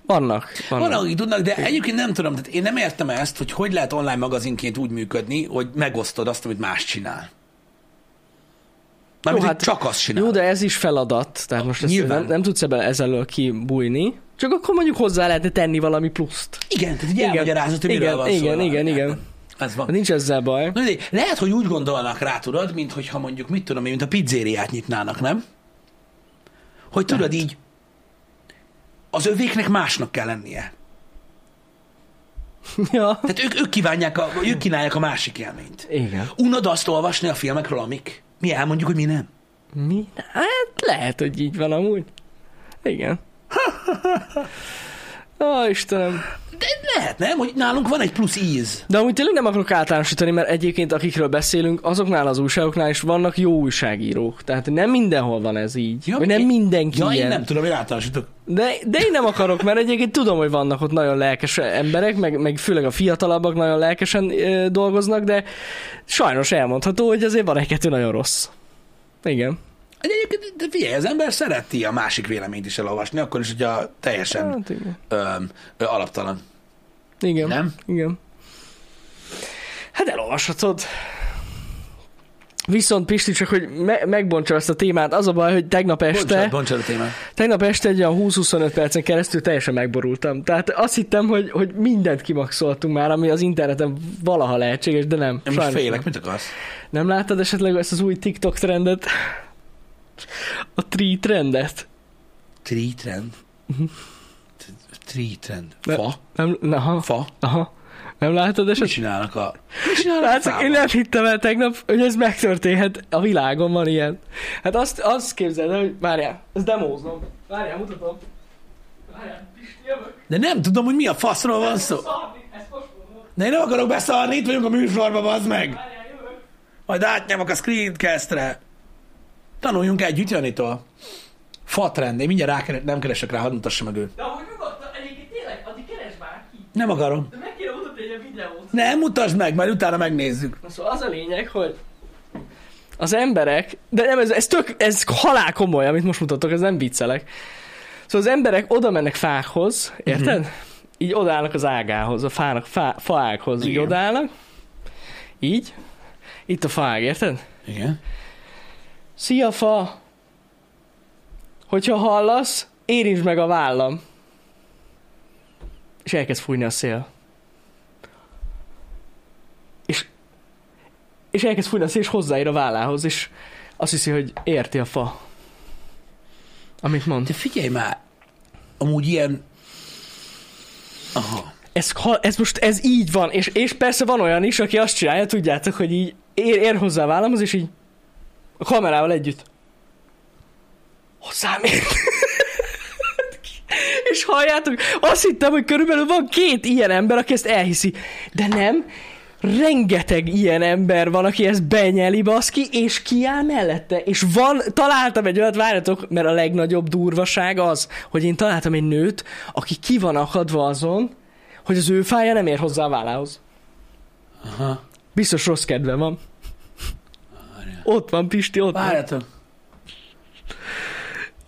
Speaker 2: Vannak. vannak.
Speaker 1: Vannak, akik tudnak, de egyébként nem tudom, tehát én nem értem ezt, hogy hogy lehet online magazinként úgy működni, hogy megosztod azt, amit más csinál. Mármint, hát,
Speaker 2: hát-
Speaker 1: csak azt csinál.
Speaker 2: Jó, de ez is feladat, tehát most ezt
Speaker 1: Nyilván.
Speaker 2: nem, nem tudsz ebben ezelől kibújni. Csak akkor mondjuk hozzá lehetne tenni valami pluszt.
Speaker 1: Igen, tehát így
Speaker 2: Igen.
Speaker 1: elmagyarázod, hogy miről
Speaker 2: Igen,
Speaker 1: van szó.
Speaker 2: igen, igen,
Speaker 1: valami.
Speaker 2: igen.
Speaker 1: Ez
Speaker 2: Hát
Speaker 1: van.
Speaker 2: Nincs ezzel baj.
Speaker 1: Na, de lehet, hogy úgy gondolnak rá, tudod, mint hogyha mondjuk, mit tudom én, mint a pizzériát nyitnának, nem? Hogy tudod így, az övéknek másnak kell lennie.
Speaker 2: Ja.
Speaker 1: Tehát ők, ők kívánják, a, ők kínálják a másik élményt.
Speaker 2: Igen.
Speaker 1: Unod azt olvasni a filmekről, amik mi elmondjuk, hogy mi nem.
Speaker 2: Mi? Hát lehet, hogy így van amúgy. Igen. Ó, Istenem.
Speaker 1: De lehet, nem? Hogy nálunk van egy plusz íz.
Speaker 2: De amúgy tényleg nem akarok általánosítani, mert egyébként akikről beszélünk, azoknál az újságoknál is vannak jó újságírók. Tehát nem mindenhol van ez így.
Speaker 1: Ja,
Speaker 2: Ja, vagy nem
Speaker 1: én-
Speaker 2: mindenki
Speaker 1: Ja,
Speaker 2: ilyen.
Speaker 1: én nem tudom, én általánosítok.
Speaker 2: De, de én nem akarok, mert egyébként tudom, hogy vannak ott nagyon lelkes emberek, meg, meg főleg a fiatalabbak nagyon lelkesen ö, dolgoznak, de sajnos elmondható, hogy azért van egy-kettő nagyon rossz. Igen.
Speaker 1: Egy- Egyébként, de figyelj, az ember szereti a másik véleményt is elolvasni, akkor is, hogyha teljesen
Speaker 2: Hát igen.
Speaker 1: öm, ö, alaptalan.
Speaker 2: Igen.
Speaker 1: Nem?
Speaker 2: Igen. Hát elolvashatod. Viszont Pisti, csak hogy me- megbontsam ezt a témát, az a baj, hogy tegnap este...
Speaker 1: Bontsad, bontsad a témát.
Speaker 2: Tegnap este egy olyan 20-25 percen keresztül teljesen megborultam. Tehát azt hittem, hogy, hogy mindent kimaxoltunk már, ami az interneten valaha lehetséges, de nem.
Speaker 1: Én most
Speaker 2: Sajnos
Speaker 1: félek,
Speaker 2: Nem.
Speaker 1: mit akarsz?
Speaker 2: nem láttad esetleg ezt az új TikTok trendet? A tree trendet?
Speaker 1: Tree trend.
Speaker 2: Mhm.
Speaker 1: T- Tree trend.
Speaker 2: Ne-
Speaker 1: Fa?
Speaker 2: Nem, na, aha,
Speaker 1: Fa?
Speaker 2: aha. Nem láttad
Speaker 1: Mit
Speaker 2: esetleg?
Speaker 1: csinálnak a...
Speaker 2: Látszik,
Speaker 1: fával?
Speaker 2: én nem hittem el tegnap, hogy ez megtörténhet. A világon van ilyen. Hát azt, azt képzeld el, hogy... Várjál, ezt demóznom. Várjál, mutatom. Várjál, Pisti, jövök.
Speaker 1: De nem tudom, hogy mi a faszról van szó.
Speaker 2: Szarni, ezt most mondom.
Speaker 1: De én nem akarok beszarni, itt vagyunk a műsorba, bazd meg!
Speaker 2: Várjál, jövök.
Speaker 1: Majd átnyomok a screencastre. Tanuljunk együtt Janitól. Fa trend. Én mindjárt rákeres, nem keresek rá, hadd mutassa meg őt.
Speaker 2: De amúgy nyugodtan, egyébként tényleg, addig keresd már ki.
Speaker 1: Nem akarom.
Speaker 2: De meg kéne mutatni egy videót.
Speaker 1: Nem, mutasd meg, majd utána megnézzük.
Speaker 2: Na szóval az a lényeg, hogy az emberek, de nem, ez, ez tök, ez halál komoly, amit most mutatok, ez nem viccelek. Szóval az emberek oda mennek fákhoz, érted? Így odállnak az ágához, a fának, fá, faághoz, így
Speaker 1: Igen.
Speaker 2: odállnak. Így. Itt a faág, érted?
Speaker 1: Igen.
Speaker 2: Szia, fa! Hogyha hallasz, érintsd meg a vállam. És elkezd fújni a szél. És, és elkezd fújni a szél, és hozzáér a vállához, és azt hiszi, hogy érti a fa. Amit mond.
Speaker 1: De figyelj már, amúgy ilyen... Aha.
Speaker 2: ez, ha, ez most ez így van, és, és persze van olyan is, aki azt csinálja, tudjátok, hogy így ér, ér hozzá a vállamhoz, és így a kamerával együtt. Hozzám ér. és halljátok, azt hittem, hogy körülbelül van két ilyen ember, aki ezt elhiszi, de nem, rengeteg ilyen ember van, aki ezt benyeli, baszki, és kiáll mellette. És van, találtam egy olyat, várjatok, mert a legnagyobb durvaság az, hogy én találtam egy nőt, aki ki van akadva azon, hogy az ő fája nem ér hozzá a vállához.
Speaker 1: Aha.
Speaker 2: Biztos rossz kedve van. Ott van, Pisti, ott van.
Speaker 1: Várjatok.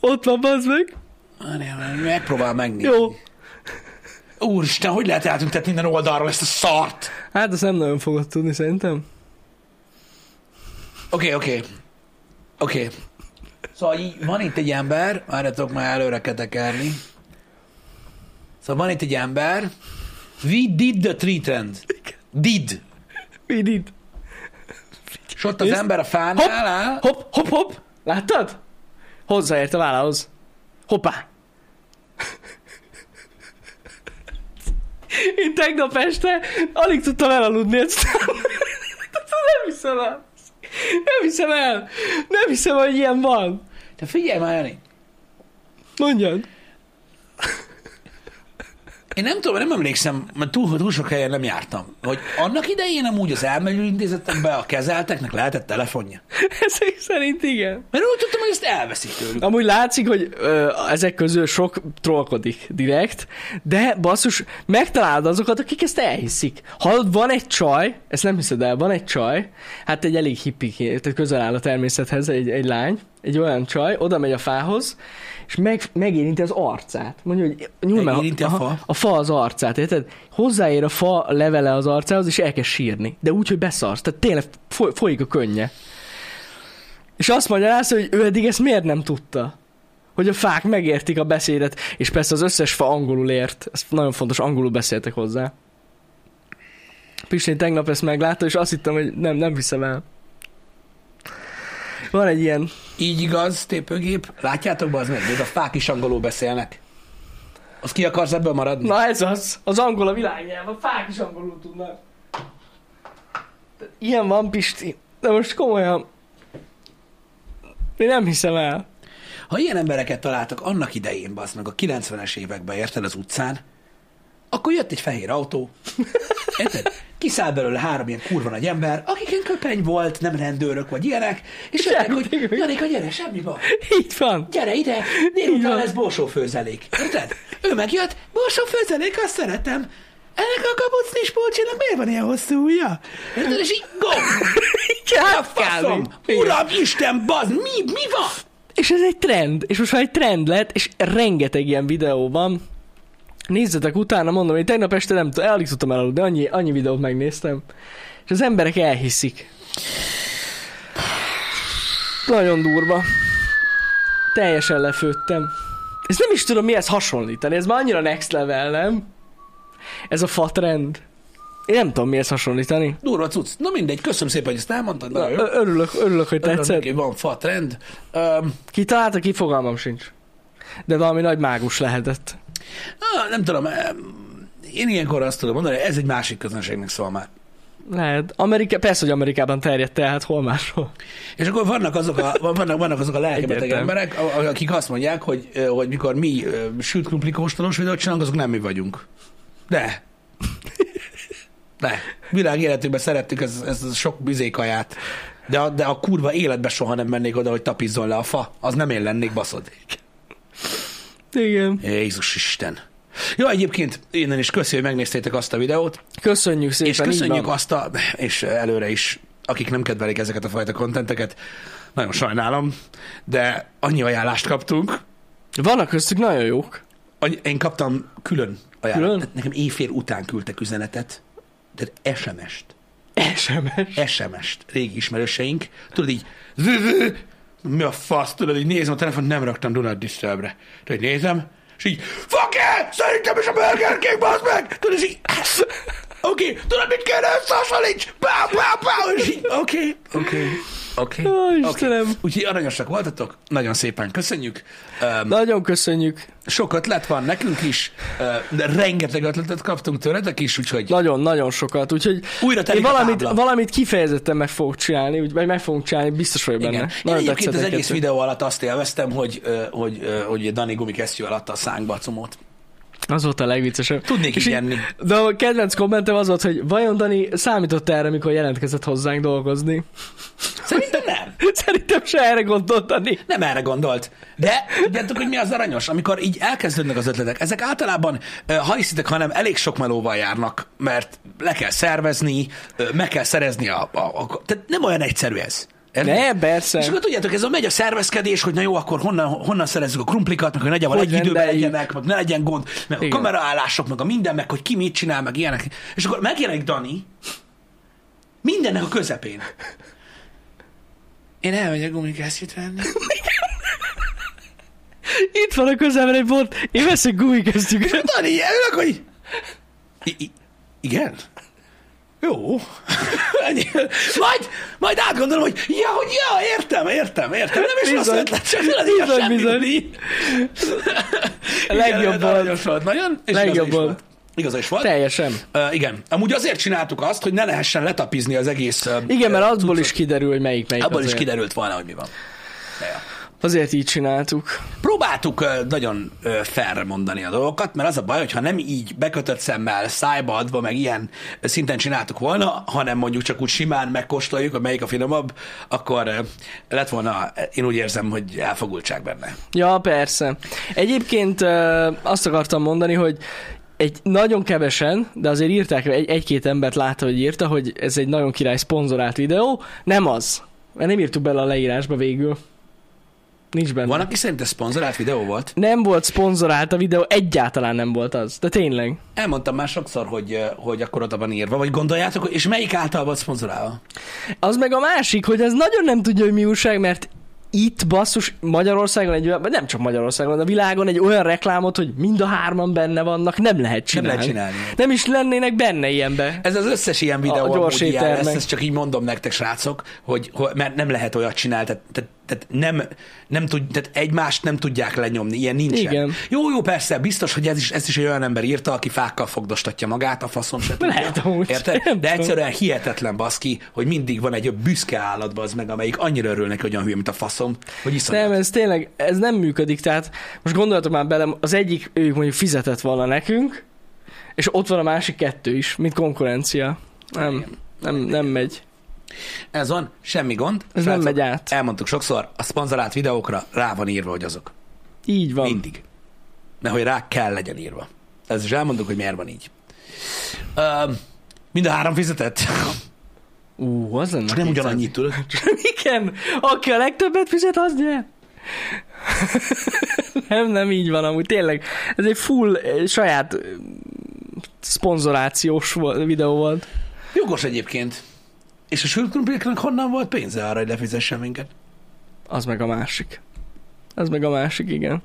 Speaker 2: Ott van, bazd meg.
Speaker 1: Várjál, várjál, Megpróbál megnézni.
Speaker 2: Jó.
Speaker 1: Úristen, hogy lehet eltüntetni minden oldalról ezt a szart?
Speaker 2: Hát ezt nem nagyon fogod tudni, szerintem.
Speaker 1: Oké, oké. Oké. Szóval így, van itt egy ember, várjatok már előre kell tekerni. Szóval van itt egy ember. We did the tree trend. Did.
Speaker 2: Így itt.
Speaker 1: És ott az
Speaker 2: Nézd.
Speaker 1: ember a
Speaker 2: Hopp,
Speaker 1: fánál áll.
Speaker 2: hopp, hopp, hopp. Láttad? Hozzáért a vállához. Hoppá. Én tegnap este alig tudtam elaludni ezt. Nem hiszem el. Nem hiszem el. Nem hiszem, hogy ilyen van.
Speaker 1: Te figyelj már, Jani.
Speaker 2: Mondjad.
Speaker 1: Én nem tudom, nem emlékszem, mert túl, túl sok helyen nem jártam. Hogy annak idején amúgy az elmegyő intézetekbe a kezelteknek lehetett telefonja.
Speaker 2: Ezek szerint igen.
Speaker 1: Mert úgy tudtam, hogy ezt elveszik tőlük.
Speaker 2: Amúgy látszik, hogy ö, ezek közül sok trollkodik direkt, de basszus, megtalálod azokat, akik ezt elhiszik. Hallod, van egy csaj, ezt nem hiszed el, van egy csaj, hát egy elég hippi, tehát közel áll a természethez egy, egy lány, egy olyan csaj, oda megy a fához, és meg, megérinti az arcát. Mondja, hogy nyúl meg.
Speaker 1: Megérinti a
Speaker 2: aha,
Speaker 1: fa?
Speaker 2: A fa az arcát, érted? Hozzáér a fa levele az arcához, és elkezd sírni. De úgy, hogy beszarsz. Tehát tényleg foly, folyik a könnye. És azt magyarázta, hogy ő eddig ezt miért nem tudta. Hogy a fák megértik a beszédet, és persze az összes fa angolul ért. Ez nagyon fontos, angolul beszéltek hozzá. Pistén tegnap ezt meglátta, és azt hittem, hogy nem, nem hiszem el. Van egy ilyen...
Speaker 1: Így igaz, tépőgép. Látjátok be az meg, még a fák is angolul beszélnek. Az ki akarsz ebből maradni?
Speaker 2: Na ez az, az angol a világnyelv, a fák is angolul tudnak. De Ilyen van, Pisti. De most komolyan... Én nem hiszem el.
Speaker 1: Ha ilyen embereket találtak annak idején, bazd meg, a 90-es években érted az utcán, Akkor jött egy fehér autó, érted? Kiszáll belőle három ilyen kurva nagy ember, akiken köpeny volt, nem rendőrök vagy ilyenek, és jöttek, hogy Janika, gyere, semmi baj.
Speaker 2: Így van.
Speaker 1: Gyere ide,
Speaker 2: Így
Speaker 1: délután
Speaker 2: van.
Speaker 1: lesz borsófőzelék. Érted? Ő megjött, borsófőzelék, azt szeretem. Ennek a kapucnis polcsinak miért van ilyen hosszú ujja? Érted? És így gomb!
Speaker 2: Hát
Speaker 1: Faszom!
Speaker 2: kb. Igen.
Speaker 1: Uram, Isten, bazd, mi, mi van?
Speaker 2: És ez egy trend, és most már egy trend lett, és rengeteg ilyen videó van. Nézzetek utána, mondom, én tegnap este nem tudom, alig tudtam elaludni, annyi, annyi videót megnéztem. És az emberek elhiszik. Nagyon durva. Teljesen lefőttem. Ez nem is tudom mihez hasonlítani, ez már annyira next level, nem? Ez a fa trend. Én nem tudom mihez hasonlítani.
Speaker 1: Durva cucc. Na mindegy, köszönöm szépen, hogy ezt elmondtad.
Speaker 2: Na,
Speaker 1: Nagyon jó.
Speaker 2: ö- örülök, örülök, hogy
Speaker 1: Örülök
Speaker 2: tetszett.
Speaker 1: neki, Van fa trend. Öm,
Speaker 2: Ki találta, ki fogalmam sincs. De valami nagy mágus lehetett.
Speaker 1: á, nem tudom, öm, én ilyenkor azt tudom mondani, hogy ez egy másik közönségnek szól már.
Speaker 2: Lehet. Amerika, persze, hogy Amerikában terjedt el, hát hol máshol.
Speaker 1: És akkor vannak azok a, van- vannak, vannak azok a lelkebeteg
Speaker 2: Egyértelmű.
Speaker 1: emberek, a- a- akik azt mondják, hogy, ö, hogy mikor mi ö, sült krumpli kóstolós videót csinálunk, azok nem mi vagyunk. De. De. Világ életükben szerettük ez, ez a sok bizékaját. De a, de a kurva életbe soha nem mennék oda, hogy tapizzon le a fa. Az nem én lennék, baszod.
Speaker 2: Igen.
Speaker 1: Jézus Isten. Jó, egyébként innen is köszi, hogy megnéztétek azt a videót,
Speaker 2: Köszönjük szépen.
Speaker 1: és köszönjük
Speaker 2: így van.
Speaker 1: azt a, és előre is, akik nem kedvelik ezeket a fajta kontenteket, nagyon sajnálom, de annyi ajánlást kaptunk,
Speaker 2: Vannak köztük nagyon jók.
Speaker 1: annyi, én kaptam külön ajánlást.
Speaker 2: Külön?
Speaker 1: Külön? Nekem éjfél után küldtek üzenetet, tehát SMS-t,
Speaker 2: SMS.
Speaker 1: SMS-t régi ismerőseink, tudod így, zzzz, mi a fasz, tudod, így nézem a telefon, nem raktam Do Not Disturb-re. Tudod, így nézem, és így, fuck it, szerintem is a Burger King, bazd meg! Tudod, és így, oké, okay, tudod, mit kell összehasonlíts? Pá, pá, pá, és így, oké, oké, oké.
Speaker 2: Ó,
Speaker 1: oké.
Speaker 2: Istenem.
Speaker 1: Úgyhogy aranyosak voltatok, nagyon szépen köszönjük. Um,
Speaker 2: Nagyon köszönjük.
Speaker 1: sok ötlet van nekünk is, uh, de rengeteg ötletet kaptunk tőletek is, úgyhogy
Speaker 2: Nagyon, nagyon sokat. Úgyhogy
Speaker 1: Újra
Speaker 2: én
Speaker 1: telik a
Speaker 2: valamit,
Speaker 1: tábla.
Speaker 2: valamit kifejezetten meg fogok csinálni, úgy, vagy meg fogunk csinálni, biztos vagyok benne.
Speaker 1: Igen. Én
Speaker 2: Nagyon
Speaker 1: egyébként
Speaker 2: tetszett
Speaker 1: az
Speaker 2: neked.
Speaker 1: egész videó alatt azt élveztem, hogy, ö, hogy, ö, hogy Dani gumikesztyű alatt a szánkba a cumót.
Speaker 2: Az volt a legviccesebb.
Speaker 1: Tudnék
Speaker 2: És
Speaker 1: így
Speaker 2: így-
Speaker 1: enni.
Speaker 2: De a kedvenc kommentem az volt, hogy vajon Dani számított erre, mikor jelentkezett hozzánk dolgozni?
Speaker 1: Szerintem nem.
Speaker 2: Szerintem se erre gondolt Dani.
Speaker 1: Nem erre gondolt. De tudjátok, hogy mi az aranyos, amikor így elkezdődnek az ötletek. Ezek általában, ö, ha hiszitek, hanem elég sok melóval járnak, mert le kell szervezni, ö, meg kell szerezni a... a, a tehát nem olyan egyszerű ez. Érted?
Speaker 2: Ne, persze.
Speaker 1: És akkor tudjátok, ez a megy a szervezkedés, hogy na jó, akkor honnan, honnan szerezzük a krumplikat, meg hogy nagyjából
Speaker 2: Hogy
Speaker 1: egy időben
Speaker 2: rendeljük.
Speaker 1: legyenek, meg ne legyen gond, meg a
Speaker 2: Igen.
Speaker 1: kameraállások, meg a minden, meg hogy ki mit csinál, meg ilyenek. És akkor megjelenik Dani mindennek a közepén. Én elmegyek gumikászit venni.
Speaker 2: Itt van a közelben egy bot, én veszek gumikesztyűket.
Speaker 1: Dani, ülök, hogy... I- i- igen? Jó. Ennyi. majd, majd átgondolom, hogy ja, hogy ja, értem, értem, értem. Nem is rossz
Speaker 2: Bizony.
Speaker 1: ötlet, csak tudod, így a
Speaker 2: Bizony,
Speaker 1: semmi
Speaker 2: bizony.
Speaker 1: tudni. Igen,
Speaker 2: Legjobb
Speaker 1: ez
Speaker 2: volt.
Speaker 1: aranyos volt. Nagyon, és
Speaker 2: Legjobb
Speaker 1: igaza is
Speaker 2: volt.
Speaker 1: volt. Igaza is volt.
Speaker 2: Teljesen.
Speaker 1: Uh, igen. Amúgy azért csináltuk azt, hogy ne lehessen letapizni az egész... Uh,
Speaker 2: Igen, mert abból is kiderül, hogy melyik melyik
Speaker 1: Abból
Speaker 2: azért.
Speaker 1: is kiderült volna, hogy mi van. Ja, ja.
Speaker 2: Azért így csináltuk.
Speaker 1: Próbáltuk ö, nagyon ö, fairre mondani a dolgokat, mert az a baj, hogyha nem így bekötött szemmel, szájba adva, meg ilyen szinten csináltuk volna, hanem mondjuk csak úgy simán megkóstoljuk, hogy melyik a finomabb, akkor ö, lett volna, ö, én úgy érzem, hogy elfogultság benne.
Speaker 2: Ja, persze. Egyébként ö, azt akartam mondani, hogy egy nagyon kevesen, de azért írták, egy, egy-két embert látta, hogy írta, hogy ez egy nagyon király szponzorált videó. Nem az. Mert nem írtuk bele a leírásba végül. Nincs benne.
Speaker 1: Van, aki szerint ez szponzorált videó volt?
Speaker 2: Nem volt szponzorált a videó, egyáltalán nem volt az. De tényleg.
Speaker 1: Elmondtam már sokszor, hogy, ö, hogy akkor oda van írva, vagy gondoljátok, hogy- és melyik által volt szponzorálva?
Speaker 2: Az meg a másik, hogy ez nagyon nem tudja, hogy mi újság, mert itt basszus Magyarországon, egy, olyan- vagy nem csak Magyarországon, de a világon egy olyan reklámot, hogy mind a hárman benne vannak, nem lehet
Speaker 1: Nem
Speaker 2: csinálni.
Speaker 1: lehet csinálni.
Speaker 2: Nem is lennének benne ilyenbe.
Speaker 1: Ez az összes ilyen videó,
Speaker 2: A
Speaker 1: a
Speaker 2: gyors
Speaker 1: gyors ilyen
Speaker 2: éttermek.
Speaker 1: lesz, ezt csak így mondom nektek, srácok, hogy, hogy mert nem lehet olyat csinálni, tehát, tehát, tehát nem, nem tud, tehát egymást nem tudják lenyomni, ilyen nincsen.
Speaker 2: Igen.
Speaker 1: Jó, jó, persze, biztos, hogy ez is, ez is egy olyan ember írta, aki fákkal fogdostatja magát, a faszom se tudja.
Speaker 2: Lehet amúgy.
Speaker 1: Érted?
Speaker 2: Nem
Speaker 1: De
Speaker 2: tudom.
Speaker 1: egyszerűen hihetetlen baszki, hogy mindig van egy büszke állat az meg, amelyik annyira örül neki, hogy olyan hülye, mint a faszom, hogy iszonyat.
Speaker 2: Nem, ez tényleg, ez nem működik, tehát most gondoljatok már bele, az egyik, ők mondjuk fizetett volna nekünk, És ott van a másik kettő is, mint konkurencia. Nem, nem, nem megy.
Speaker 1: Ez van, semmi gond.
Speaker 2: Ez nem
Speaker 1: Srácok,
Speaker 2: megy át.
Speaker 1: Elmondtuk sokszor, a szponzorált videókra rá van írva, hogy azok.
Speaker 2: Így van.
Speaker 1: Mindig. De hogy rá kell legyen írva. Ez is elmondjuk, hogy miért van így. Öm, mind a három fizetett.
Speaker 2: Ú, az lenne
Speaker 1: Csak nem
Speaker 2: 200.
Speaker 1: ugyanannyit, tudod?
Speaker 2: Igen, aki a legtöbbet fizet, az nyer. nem, nem így van amúgy, tényleg. Ez egy full eh, saját eh, szponzorációs vo- videó volt.
Speaker 1: Jogos egyébként. És a sülkrumplieknek honnan volt pénze arra, hogy lefizessen minket?
Speaker 2: Az meg a másik. Az meg a másik, igen.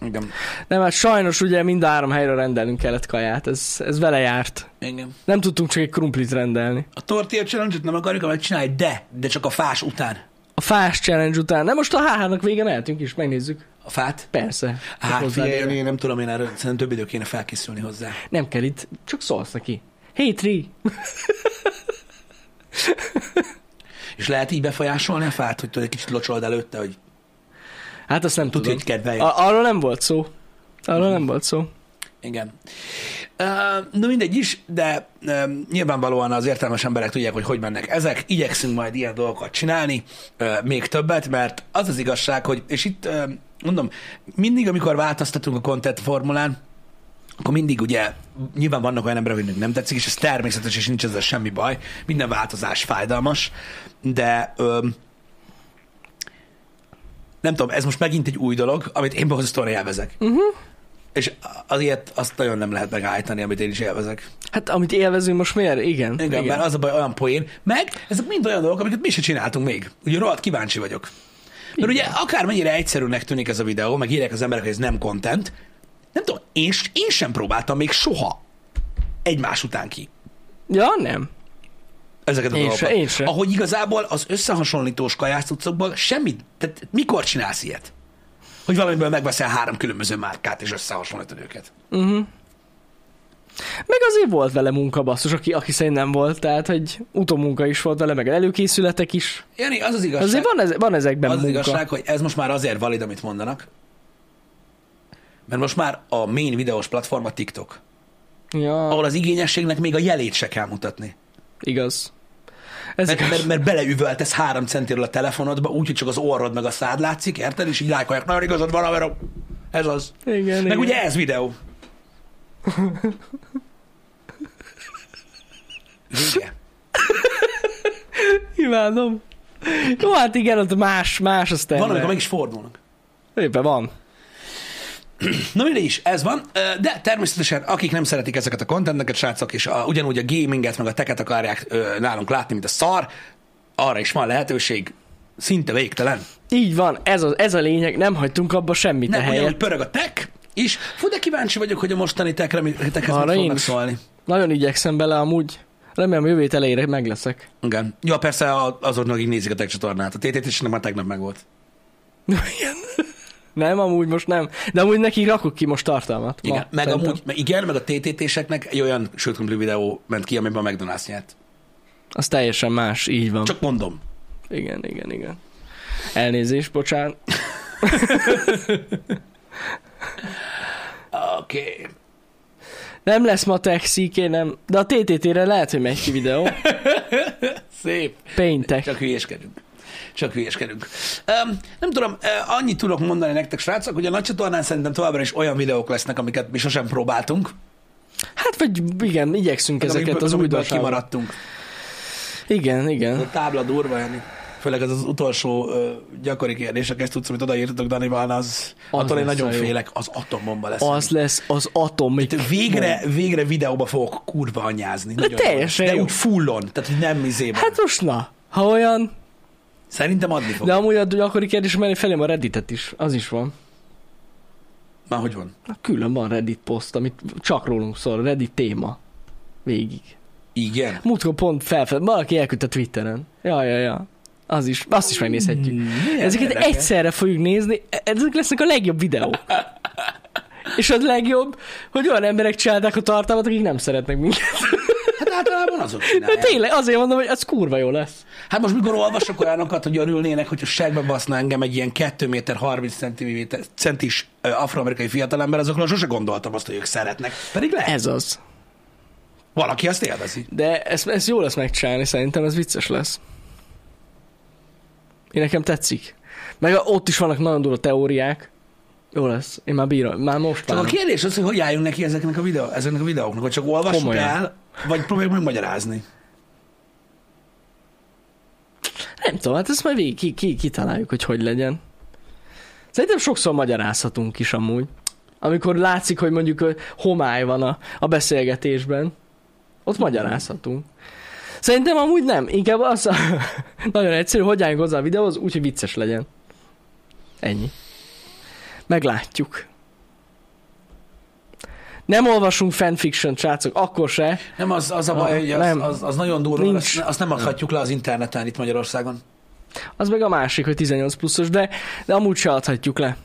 Speaker 1: Igen.
Speaker 2: Nem, hát sajnos ugye mind a három helyre rendelnünk kellett kaját, ez, ez vele járt.
Speaker 1: Igen.
Speaker 2: Nem tudtunk csak egy krumplit rendelni.
Speaker 1: A tortilla challenge nem akarjuk, amit csinálj, de, de csak a fás után.
Speaker 2: A fás challenge után, nem most a háhának vége mehetünk is, megnézzük.
Speaker 1: A fát?
Speaker 2: Persze. csak
Speaker 1: Hát
Speaker 2: hozzád
Speaker 1: figyelj,
Speaker 2: érek.
Speaker 1: én nem tudom, én erre szerintem több idő kéne felkészülni hozzá.
Speaker 2: Nem kell itt, csak szólsz neki. Hey, Tri!
Speaker 1: És lehet így befolyásolni a fát, hogy tudod, egy kicsit locsold előtte, hogy
Speaker 2: Hát azt nem
Speaker 1: tudja,
Speaker 2: tudom.
Speaker 1: hogy Mhm. kedvelje.
Speaker 2: A- arról nem volt szó. Arról nem volt szó.
Speaker 1: Igen. Uh, na mindegy is, de uh, nyilvánvalóan az értelmes emberek tudják, hogy hogy mennek ezek. Igyekszünk majd ilyen dolgokat csinálni, uh, még többet, mert az az igazság, hogy, és itt uh, mondom, mindig, amikor változtatunk a content formulán, akkor mindig ugye nyilván vannak olyan emberek, akiknek nem tetszik, és ez természetes, és nincs ezzel semmi baj. Minden változás fájdalmas, de öm, nem tudom, ez most megint egy új dolog, amit én borzasztóan élvezek. Uh-huh. És az ilyet azt nagyon nem lehet megállítani, amit én is élvezek.
Speaker 2: Hát amit élvezünk most miért? Igen.
Speaker 1: Igen, Igen. mert az a baj olyan poén. Meg ezek mind olyan dolgok, amiket mi se csináltunk még. Ugye rohadt kíváncsi vagyok. Mert ugye akármennyire egyszerűnek tűnik ez a videó, meg írják az emberek, hogy ez nem content, nem tudom, én, s- én sem próbáltam még soha egymás után ki
Speaker 2: Ja, nem.
Speaker 1: ezeket a
Speaker 2: Én
Speaker 1: dolgokat.
Speaker 2: se, én se.
Speaker 1: Ahogy igazából az összehasonlítós kajásztucokból semmit, tehát mikor csinálsz ilyet? Hogy valamiből megveszel három különböző márkát, és összehasonlítod őket.
Speaker 2: Meg azért volt vele munka, basszus, aki, aki szerint nem volt, tehát, hogy utómunka is volt vele, meg előkészületek is.
Speaker 1: Jani, az az igazság.
Speaker 2: Azért van, ez, van ezekben
Speaker 1: az az
Speaker 2: munka.
Speaker 1: igazság, hogy ez most már azért valid, amit mondanak. Mert most már a main videós platform a TikTok,
Speaker 2: Ja,
Speaker 1: ahol az igényességnek még a jelét se kell mutatni.
Speaker 2: igaz. Ez
Speaker 1: Mert,
Speaker 2: igaz.
Speaker 1: mert, mert beleüvöltesz három centiről a telefonodba, úgyhogy csak az orrod meg a szád látszik, érted? És így lájkolják, nagyon igazad van, haverom. Ez az.
Speaker 2: igen,
Speaker 1: Meg
Speaker 2: igen.
Speaker 1: ugye ez videó. Vége.
Speaker 2: Imádom. Jó, hát igen, ott más, más a
Speaker 1: Van,
Speaker 2: standard.
Speaker 1: amikor meg is fordulnak.
Speaker 2: Éppen van.
Speaker 1: Na mindegy is, ez van, Ö, de természetesen akik nem szeretik ezeket a contenteket, srácok, és a, ugyanúgy a gaminget, meg a teket akarják ö, nálunk látni, mint a szar, arra is van lehetőség, szinte végtelen.
Speaker 2: Így van, ez a, ez a lényeg, nem hagytunk abba semmit
Speaker 1: Nem,
Speaker 2: a
Speaker 1: ugyanúgy
Speaker 2: helyet.
Speaker 1: pörög a tek, és fú, de kíváncsi vagyok, hogy a mostani tekre, mi- tekhez
Speaker 2: Arra
Speaker 1: mit
Speaker 2: én
Speaker 1: fognak
Speaker 2: is.
Speaker 1: szólni.
Speaker 2: Nagyon igyekszem bele amúgy. Remélem jövő hét elejére meg leszek.
Speaker 1: Igen. Ja, persze a- azoknak, akik nézik a tek csatornát. A TTT-snek már tegnap megvolt.
Speaker 2: Nem, amúgy most nem. De amúgy neki rakok ki most tartalmat.
Speaker 1: Igen,
Speaker 2: Ma,
Speaker 1: meg
Speaker 2: szerintem.
Speaker 1: amúgy, meg igen, meg a TTT-seknek egy olyan sőtkumpli videó ment ki, amiben a McDonald's nyert.
Speaker 2: Az teljesen más, így van. Csak...
Speaker 1: Csak mondom.
Speaker 2: Igen, igen, igen. Elnézést, bocsánat.
Speaker 1: Oké. Okay.
Speaker 2: Nem lesz ma tech szíké, nem. De a TTT-re lehet, hogy megy ki videó.
Speaker 1: Szép.
Speaker 2: Péntek.
Speaker 1: Csak hülyéskedünk. Csak hülyéskedünk. Um, nem tudom, uh, annyit tudok mondani nektek, srácok, hogy a nagy csatornán szerintem továbbra is olyan videók lesznek, amiket mi sosem próbáltunk.
Speaker 2: Hát vagy igen, igyekszünk
Speaker 1: meg
Speaker 2: ezeket
Speaker 1: amikből-
Speaker 2: az
Speaker 1: amikből
Speaker 2: újdonságokat.
Speaker 1: kimaradtunk.
Speaker 2: Igen,
Speaker 1: Ez
Speaker 2: igen.
Speaker 1: a tábla durva, Jani. Főleg ez az utolsó uh, gyakori kérdések, ezt tudsz, amit odaírtatok Danival, az,
Speaker 2: Az
Speaker 1: az attól én
Speaker 2: lesz a
Speaker 1: nagyon
Speaker 2: jó.
Speaker 1: félek, az atombomba lesz.
Speaker 2: Az lesz az atomik.
Speaker 1: Te Végre, végre videóba fogok kurva anyázni. Nagyon
Speaker 2: Hát teljesen
Speaker 1: jó. De
Speaker 2: jó.
Speaker 1: úgy fullon, tehát hogy nem izében. Hát,
Speaker 2: Hát most na, ha olyan.
Speaker 1: Szerintem adni fog.
Speaker 2: De
Speaker 1: De...
Speaker 2: amúgy a gyakori kérdés mellé felém a Redditet is. Az is van.
Speaker 1: Már hogy van?
Speaker 2: Na, Külön van Reddit poszt, amit csak rólunk szól. Reddit téma. Végig.
Speaker 1: Igen.
Speaker 2: Múltkor pont felfed, valaki elküldte Twitteren. Ja, ja, ja. Az is, azt is megnézhetjük.
Speaker 1: Hmm, Milyen
Speaker 2: Ezeket
Speaker 1: érdekes.
Speaker 2: egyszerre fogjuk nézni, e, ezek lesznek a legjobb videók. És az legjobb, hogy olyan emberek csinálták a tartalmat, akik nem szeretnek minket.
Speaker 1: Hát általában azok
Speaker 2: De
Speaker 1: csinálják.
Speaker 2: tényleg, azért mondom, hogy ez kurva jó lesz.
Speaker 1: Hát most mikor olvasok olyanokat, hogy örülnének, hogyha segbe baszna engem egy ilyen 2 méter 30 centiméter, centis ö, afroamerikai fiatalember, azokról sose gondoltam azt, hogy ők szeretnek. Pedig lehet.
Speaker 2: Ez az.
Speaker 1: Valaki azt élvezi.
Speaker 2: De ez, ez jó lesz megcsinálni, szerintem ez vicces lesz. Én nekem tetszik. Meg a- ott is vannak nagyon durva teóriák. Jó lesz. Én már bírom. Már most
Speaker 1: Csak a
Speaker 2: várom.
Speaker 1: kérdés az, hogy hogy álljunk neki ezeknek a, videó, ezeknek a videóknak, hogy csak olvassuk
Speaker 2: Komolyan.
Speaker 1: el, vagy próbáljuk megmagyarázni.
Speaker 2: Nem tudom, hát ezt majd végig ki, ki, kitaláljuk, hogy hogy legyen. Szerintem sokszor magyarázhatunk is amúgy. Amikor látszik, hogy mondjuk ö, homály van a, a beszélgetésben, ott magyarázhatunk. Szerintem amúgy nem. Inkább az a... nagyon egyszerű, hogy álljunk hozzá a videóhoz, úgyhogy vicces legyen. Ennyi. Meglátjuk. Nem olvasunk fanfiction, srácok, akkor se.
Speaker 1: Nem az, az a baj,
Speaker 2: Ah,
Speaker 1: hogy az,
Speaker 2: nem.
Speaker 1: az, az nagyon durva,
Speaker 2: Nincs.
Speaker 1: azt, azt nem adhatjuk le az interneten itt Magyarországon.
Speaker 2: Az meg a másik, hogy 18 pluszos, de, de amúgy se adhatjuk le.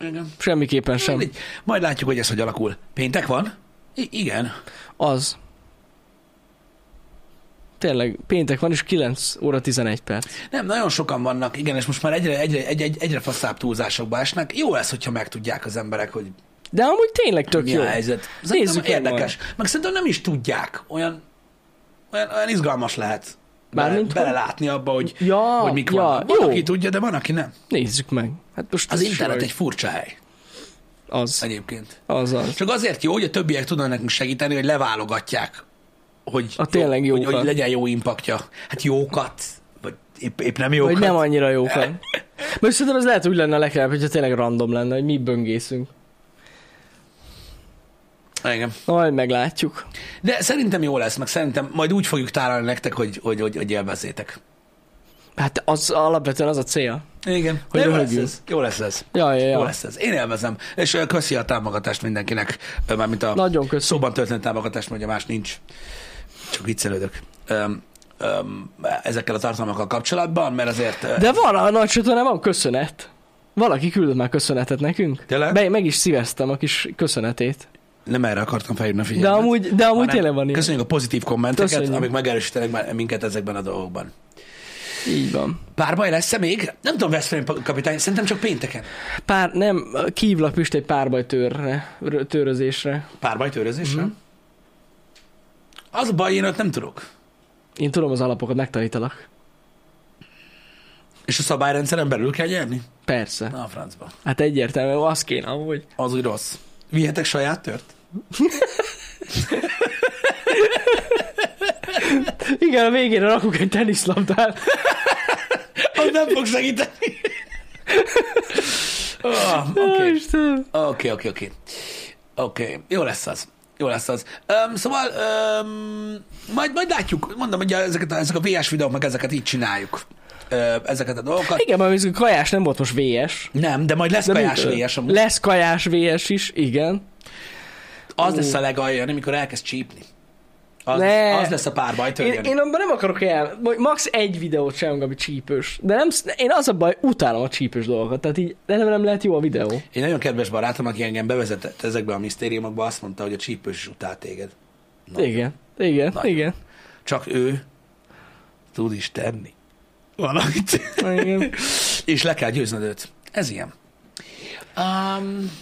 Speaker 1: Igen.
Speaker 2: Semmiképpen sem.
Speaker 1: Mindegy. Majd látjuk, hogy ez hogy alakul. Péntek van? I- igen.
Speaker 2: Az. Tényleg, péntek van, és 9 óra 11 perc.
Speaker 1: Nem, nagyon sokan vannak, igen, és most már egyre, egyre, egyre, egy- egyre faszább túlzásokba esnek. Jó lesz, hogyha megtudják az emberek, hogy
Speaker 2: De amúgy tényleg tök
Speaker 1: mi
Speaker 2: jó.
Speaker 1: a helyzet.
Speaker 2: Nézzük
Speaker 1: Szerintem érdekes. Meg szerintem nem is tudják. Olyan, olyan, olyan izgalmas lehet bele,
Speaker 2: Mármint, hogy-
Speaker 1: belelátni abba, hogy,
Speaker 2: Ja,
Speaker 1: hogy mik
Speaker 2: ja,
Speaker 1: vannak. Van,
Speaker 2: jó.
Speaker 1: aki tudja, de van, aki nem.
Speaker 2: Nézzük meg. Hát most
Speaker 1: Az
Speaker 2: ez
Speaker 1: internet
Speaker 2: saj-
Speaker 1: egy furcsa hely
Speaker 2: Az,
Speaker 1: egyébként.
Speaker 2: az az.
Speaker 1: Csak azért jó, hogy a többiek tudnak nekünk segíteni, hogy leválogatják, hogy,
Speaker 2: A tényleg
Speaker 1: hogy,
Speaker 2: jókat.
Speaker 1: hogy legyen jó impaktja. Hát jókat, vagy épp, épp nem jókat.
Speaker 2: Vagy nem annyira jók. Most szerintem ez lehet úgy lenne a legjobb, hogyha tényleg random lenne, hogy mi böngészünk.
Speaker 1: Igen.
Speaker 2: Na, majd meglátjuk.
Speaker 1: De szerintem jó lesz, meg szerintem majd úgy fogjuk tárolni nektek, hogy, hogy, hogy, hogy élvezzétek.
Speaker 2: Hát az alapvetően az a cél.
Speaker 1: Igen.
Speaker 2: Hogy
Speaker 1: Hogy jó lesz
Speaker 2: röhögjünk.
Speaker 1: ez. Jó lesz ez.
Speaker 2: Ja, ja,
Speaker 1: Jó
Speaker 2: ja.
Speaker 1: lesz ez. Én élvezem. És ö, köszi a támogatást mindenkinek, Ö, mármint a
Speaker 2: Nagyon köszi.
Speaker 1: szóban történt támogatást, mert ugye más nincs. Csak viccelődök. Öm, öm, ezekkel a tartalmakkal kapcsolatban, mert azért... ö,
Speaker 2: De van a nagy csatornán van köszönet. Valaki küldött már köszönetet nekünk.
Speaker 1: Tényleg?
Speaker 2: Be, meg is szíveztem a kis köszönetét.
Speaker 1: Nem erre akartam felhívni a
Speaker 2: De
Speaker 1: figyelmet.
Speaker 2: amúgy, de amúgy
Speaker 1: hanem
Speaker 2: tényleg van ilyen.
Speaker 1: Köszönjük a pozitív kommenteket,
Speaker 2: Köszönjük.
Speaker 1: amik megerősítenek már minket ezekben a dolgokban.
Speaker 2: Így van.
Speaker 1: Pár baj lesz-e még? Nem tudom, Veszprém kapitány, szerintem csak pénteken.
Speaker 2: Pár, nem, kívlak Pist egy párbajtőrre, rö- törözésre.
Speaker 1: Párbajtőrözésre? Mm-hmm. Az a baj, én ott nem tudok.
Speaker 2: Én tudom az alapokat, megtanítalak.
Speaker 1: És a szabályrendszeren belül kell nyerni?
Speaker 2: Persze.
Speaker 1: Na, a francba.
Speaker 2: Hát egyértelmű, az kéne amúgy.
Speaker 1: Az úgy rossz. Vihetek saját tört?
Speaker 2: Igen, a végére rakunk egy teniszlabdát.
Speaker 1: Az nem fog segíteni. Ah, Oké,
Speaker 2: Ó,
Speaker 1: okay.
Speaker 2: Istenem.
Speaker 1: oké, oké, oké. Oké, jó lesz az. Jó lesz az. Um, szóval, um, majd, majd látjuk, mondom, hogy ezeket a, ezek a VS videók, meg ezeket így csináljuk. Ö, ezeket a dolgokat.
Speaker 2: Igen, mert a kajás nem volt most VS.
Speaker 1: Nem, de majd lesz
Speaker 2: De
Speaker 1: kajás
Speaker 2: mit-
Speaker 1: VS amúgy.
Speaker 2: Lesz kajás VS is, igen.
Speaker 1: Az lesz a legalja, amikor elkezd csípni. Az,
Speaker 2: Ne.
Speaker 1: az lesz a párbaj
Speaker 2: Én,
Speaker 1: törjön.
Speaker 2: én abban nem akarok el, vagy max egy videót sem, ami csípős. De nem, sz- én az a baj, utálom a csípős dolgokat, tehát így de nem, nem lehet jó a videó.
Speaker 1: Egy nagyon kedves barátom, aki engem bevezetett ezekbe a misztériumokba, azt mondta, hogy a csípős is utál téged. Nagyon.
Speaker 2: Igen, igen,
Speaker 1: Nagyon.
Speaker 2: igen.
Speaker 1: Csak ő tud is tenni valamit.
Speaker 2: igen.
Speaker 1: És le kell győznöd őt. Ez ilyen. Um,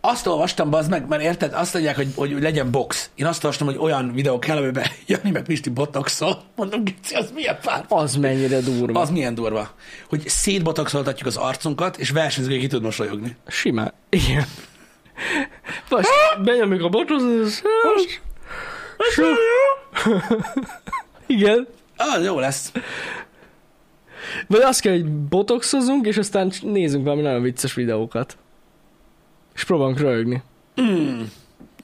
Speaker 1: azt olvastam, az meg, mert érted, azt mondják, hogy, hogy legyen box. Én azt olvastam, hogy olyan videó kell, amiben Jani meg Pisti botoxol. Mondom, Gici, az milyen pár?
Speaker 2: Az mennyire durva.
Speaker 1: Az milyen durva, hogy szétbotoxoltatjuk az arcunkat, és versenyzőként ki tud mosolyogni.
Speaker 2: Simán. Igen. Most benyomjuk a botot, Igen.
Speaker 1: Ah, jó lesz.
Speaker 2: Vagy azt kell, hogy botoxozunk, és aztán c- nézzünk valami nagyon vicces videókat. És próbálunk röhögni.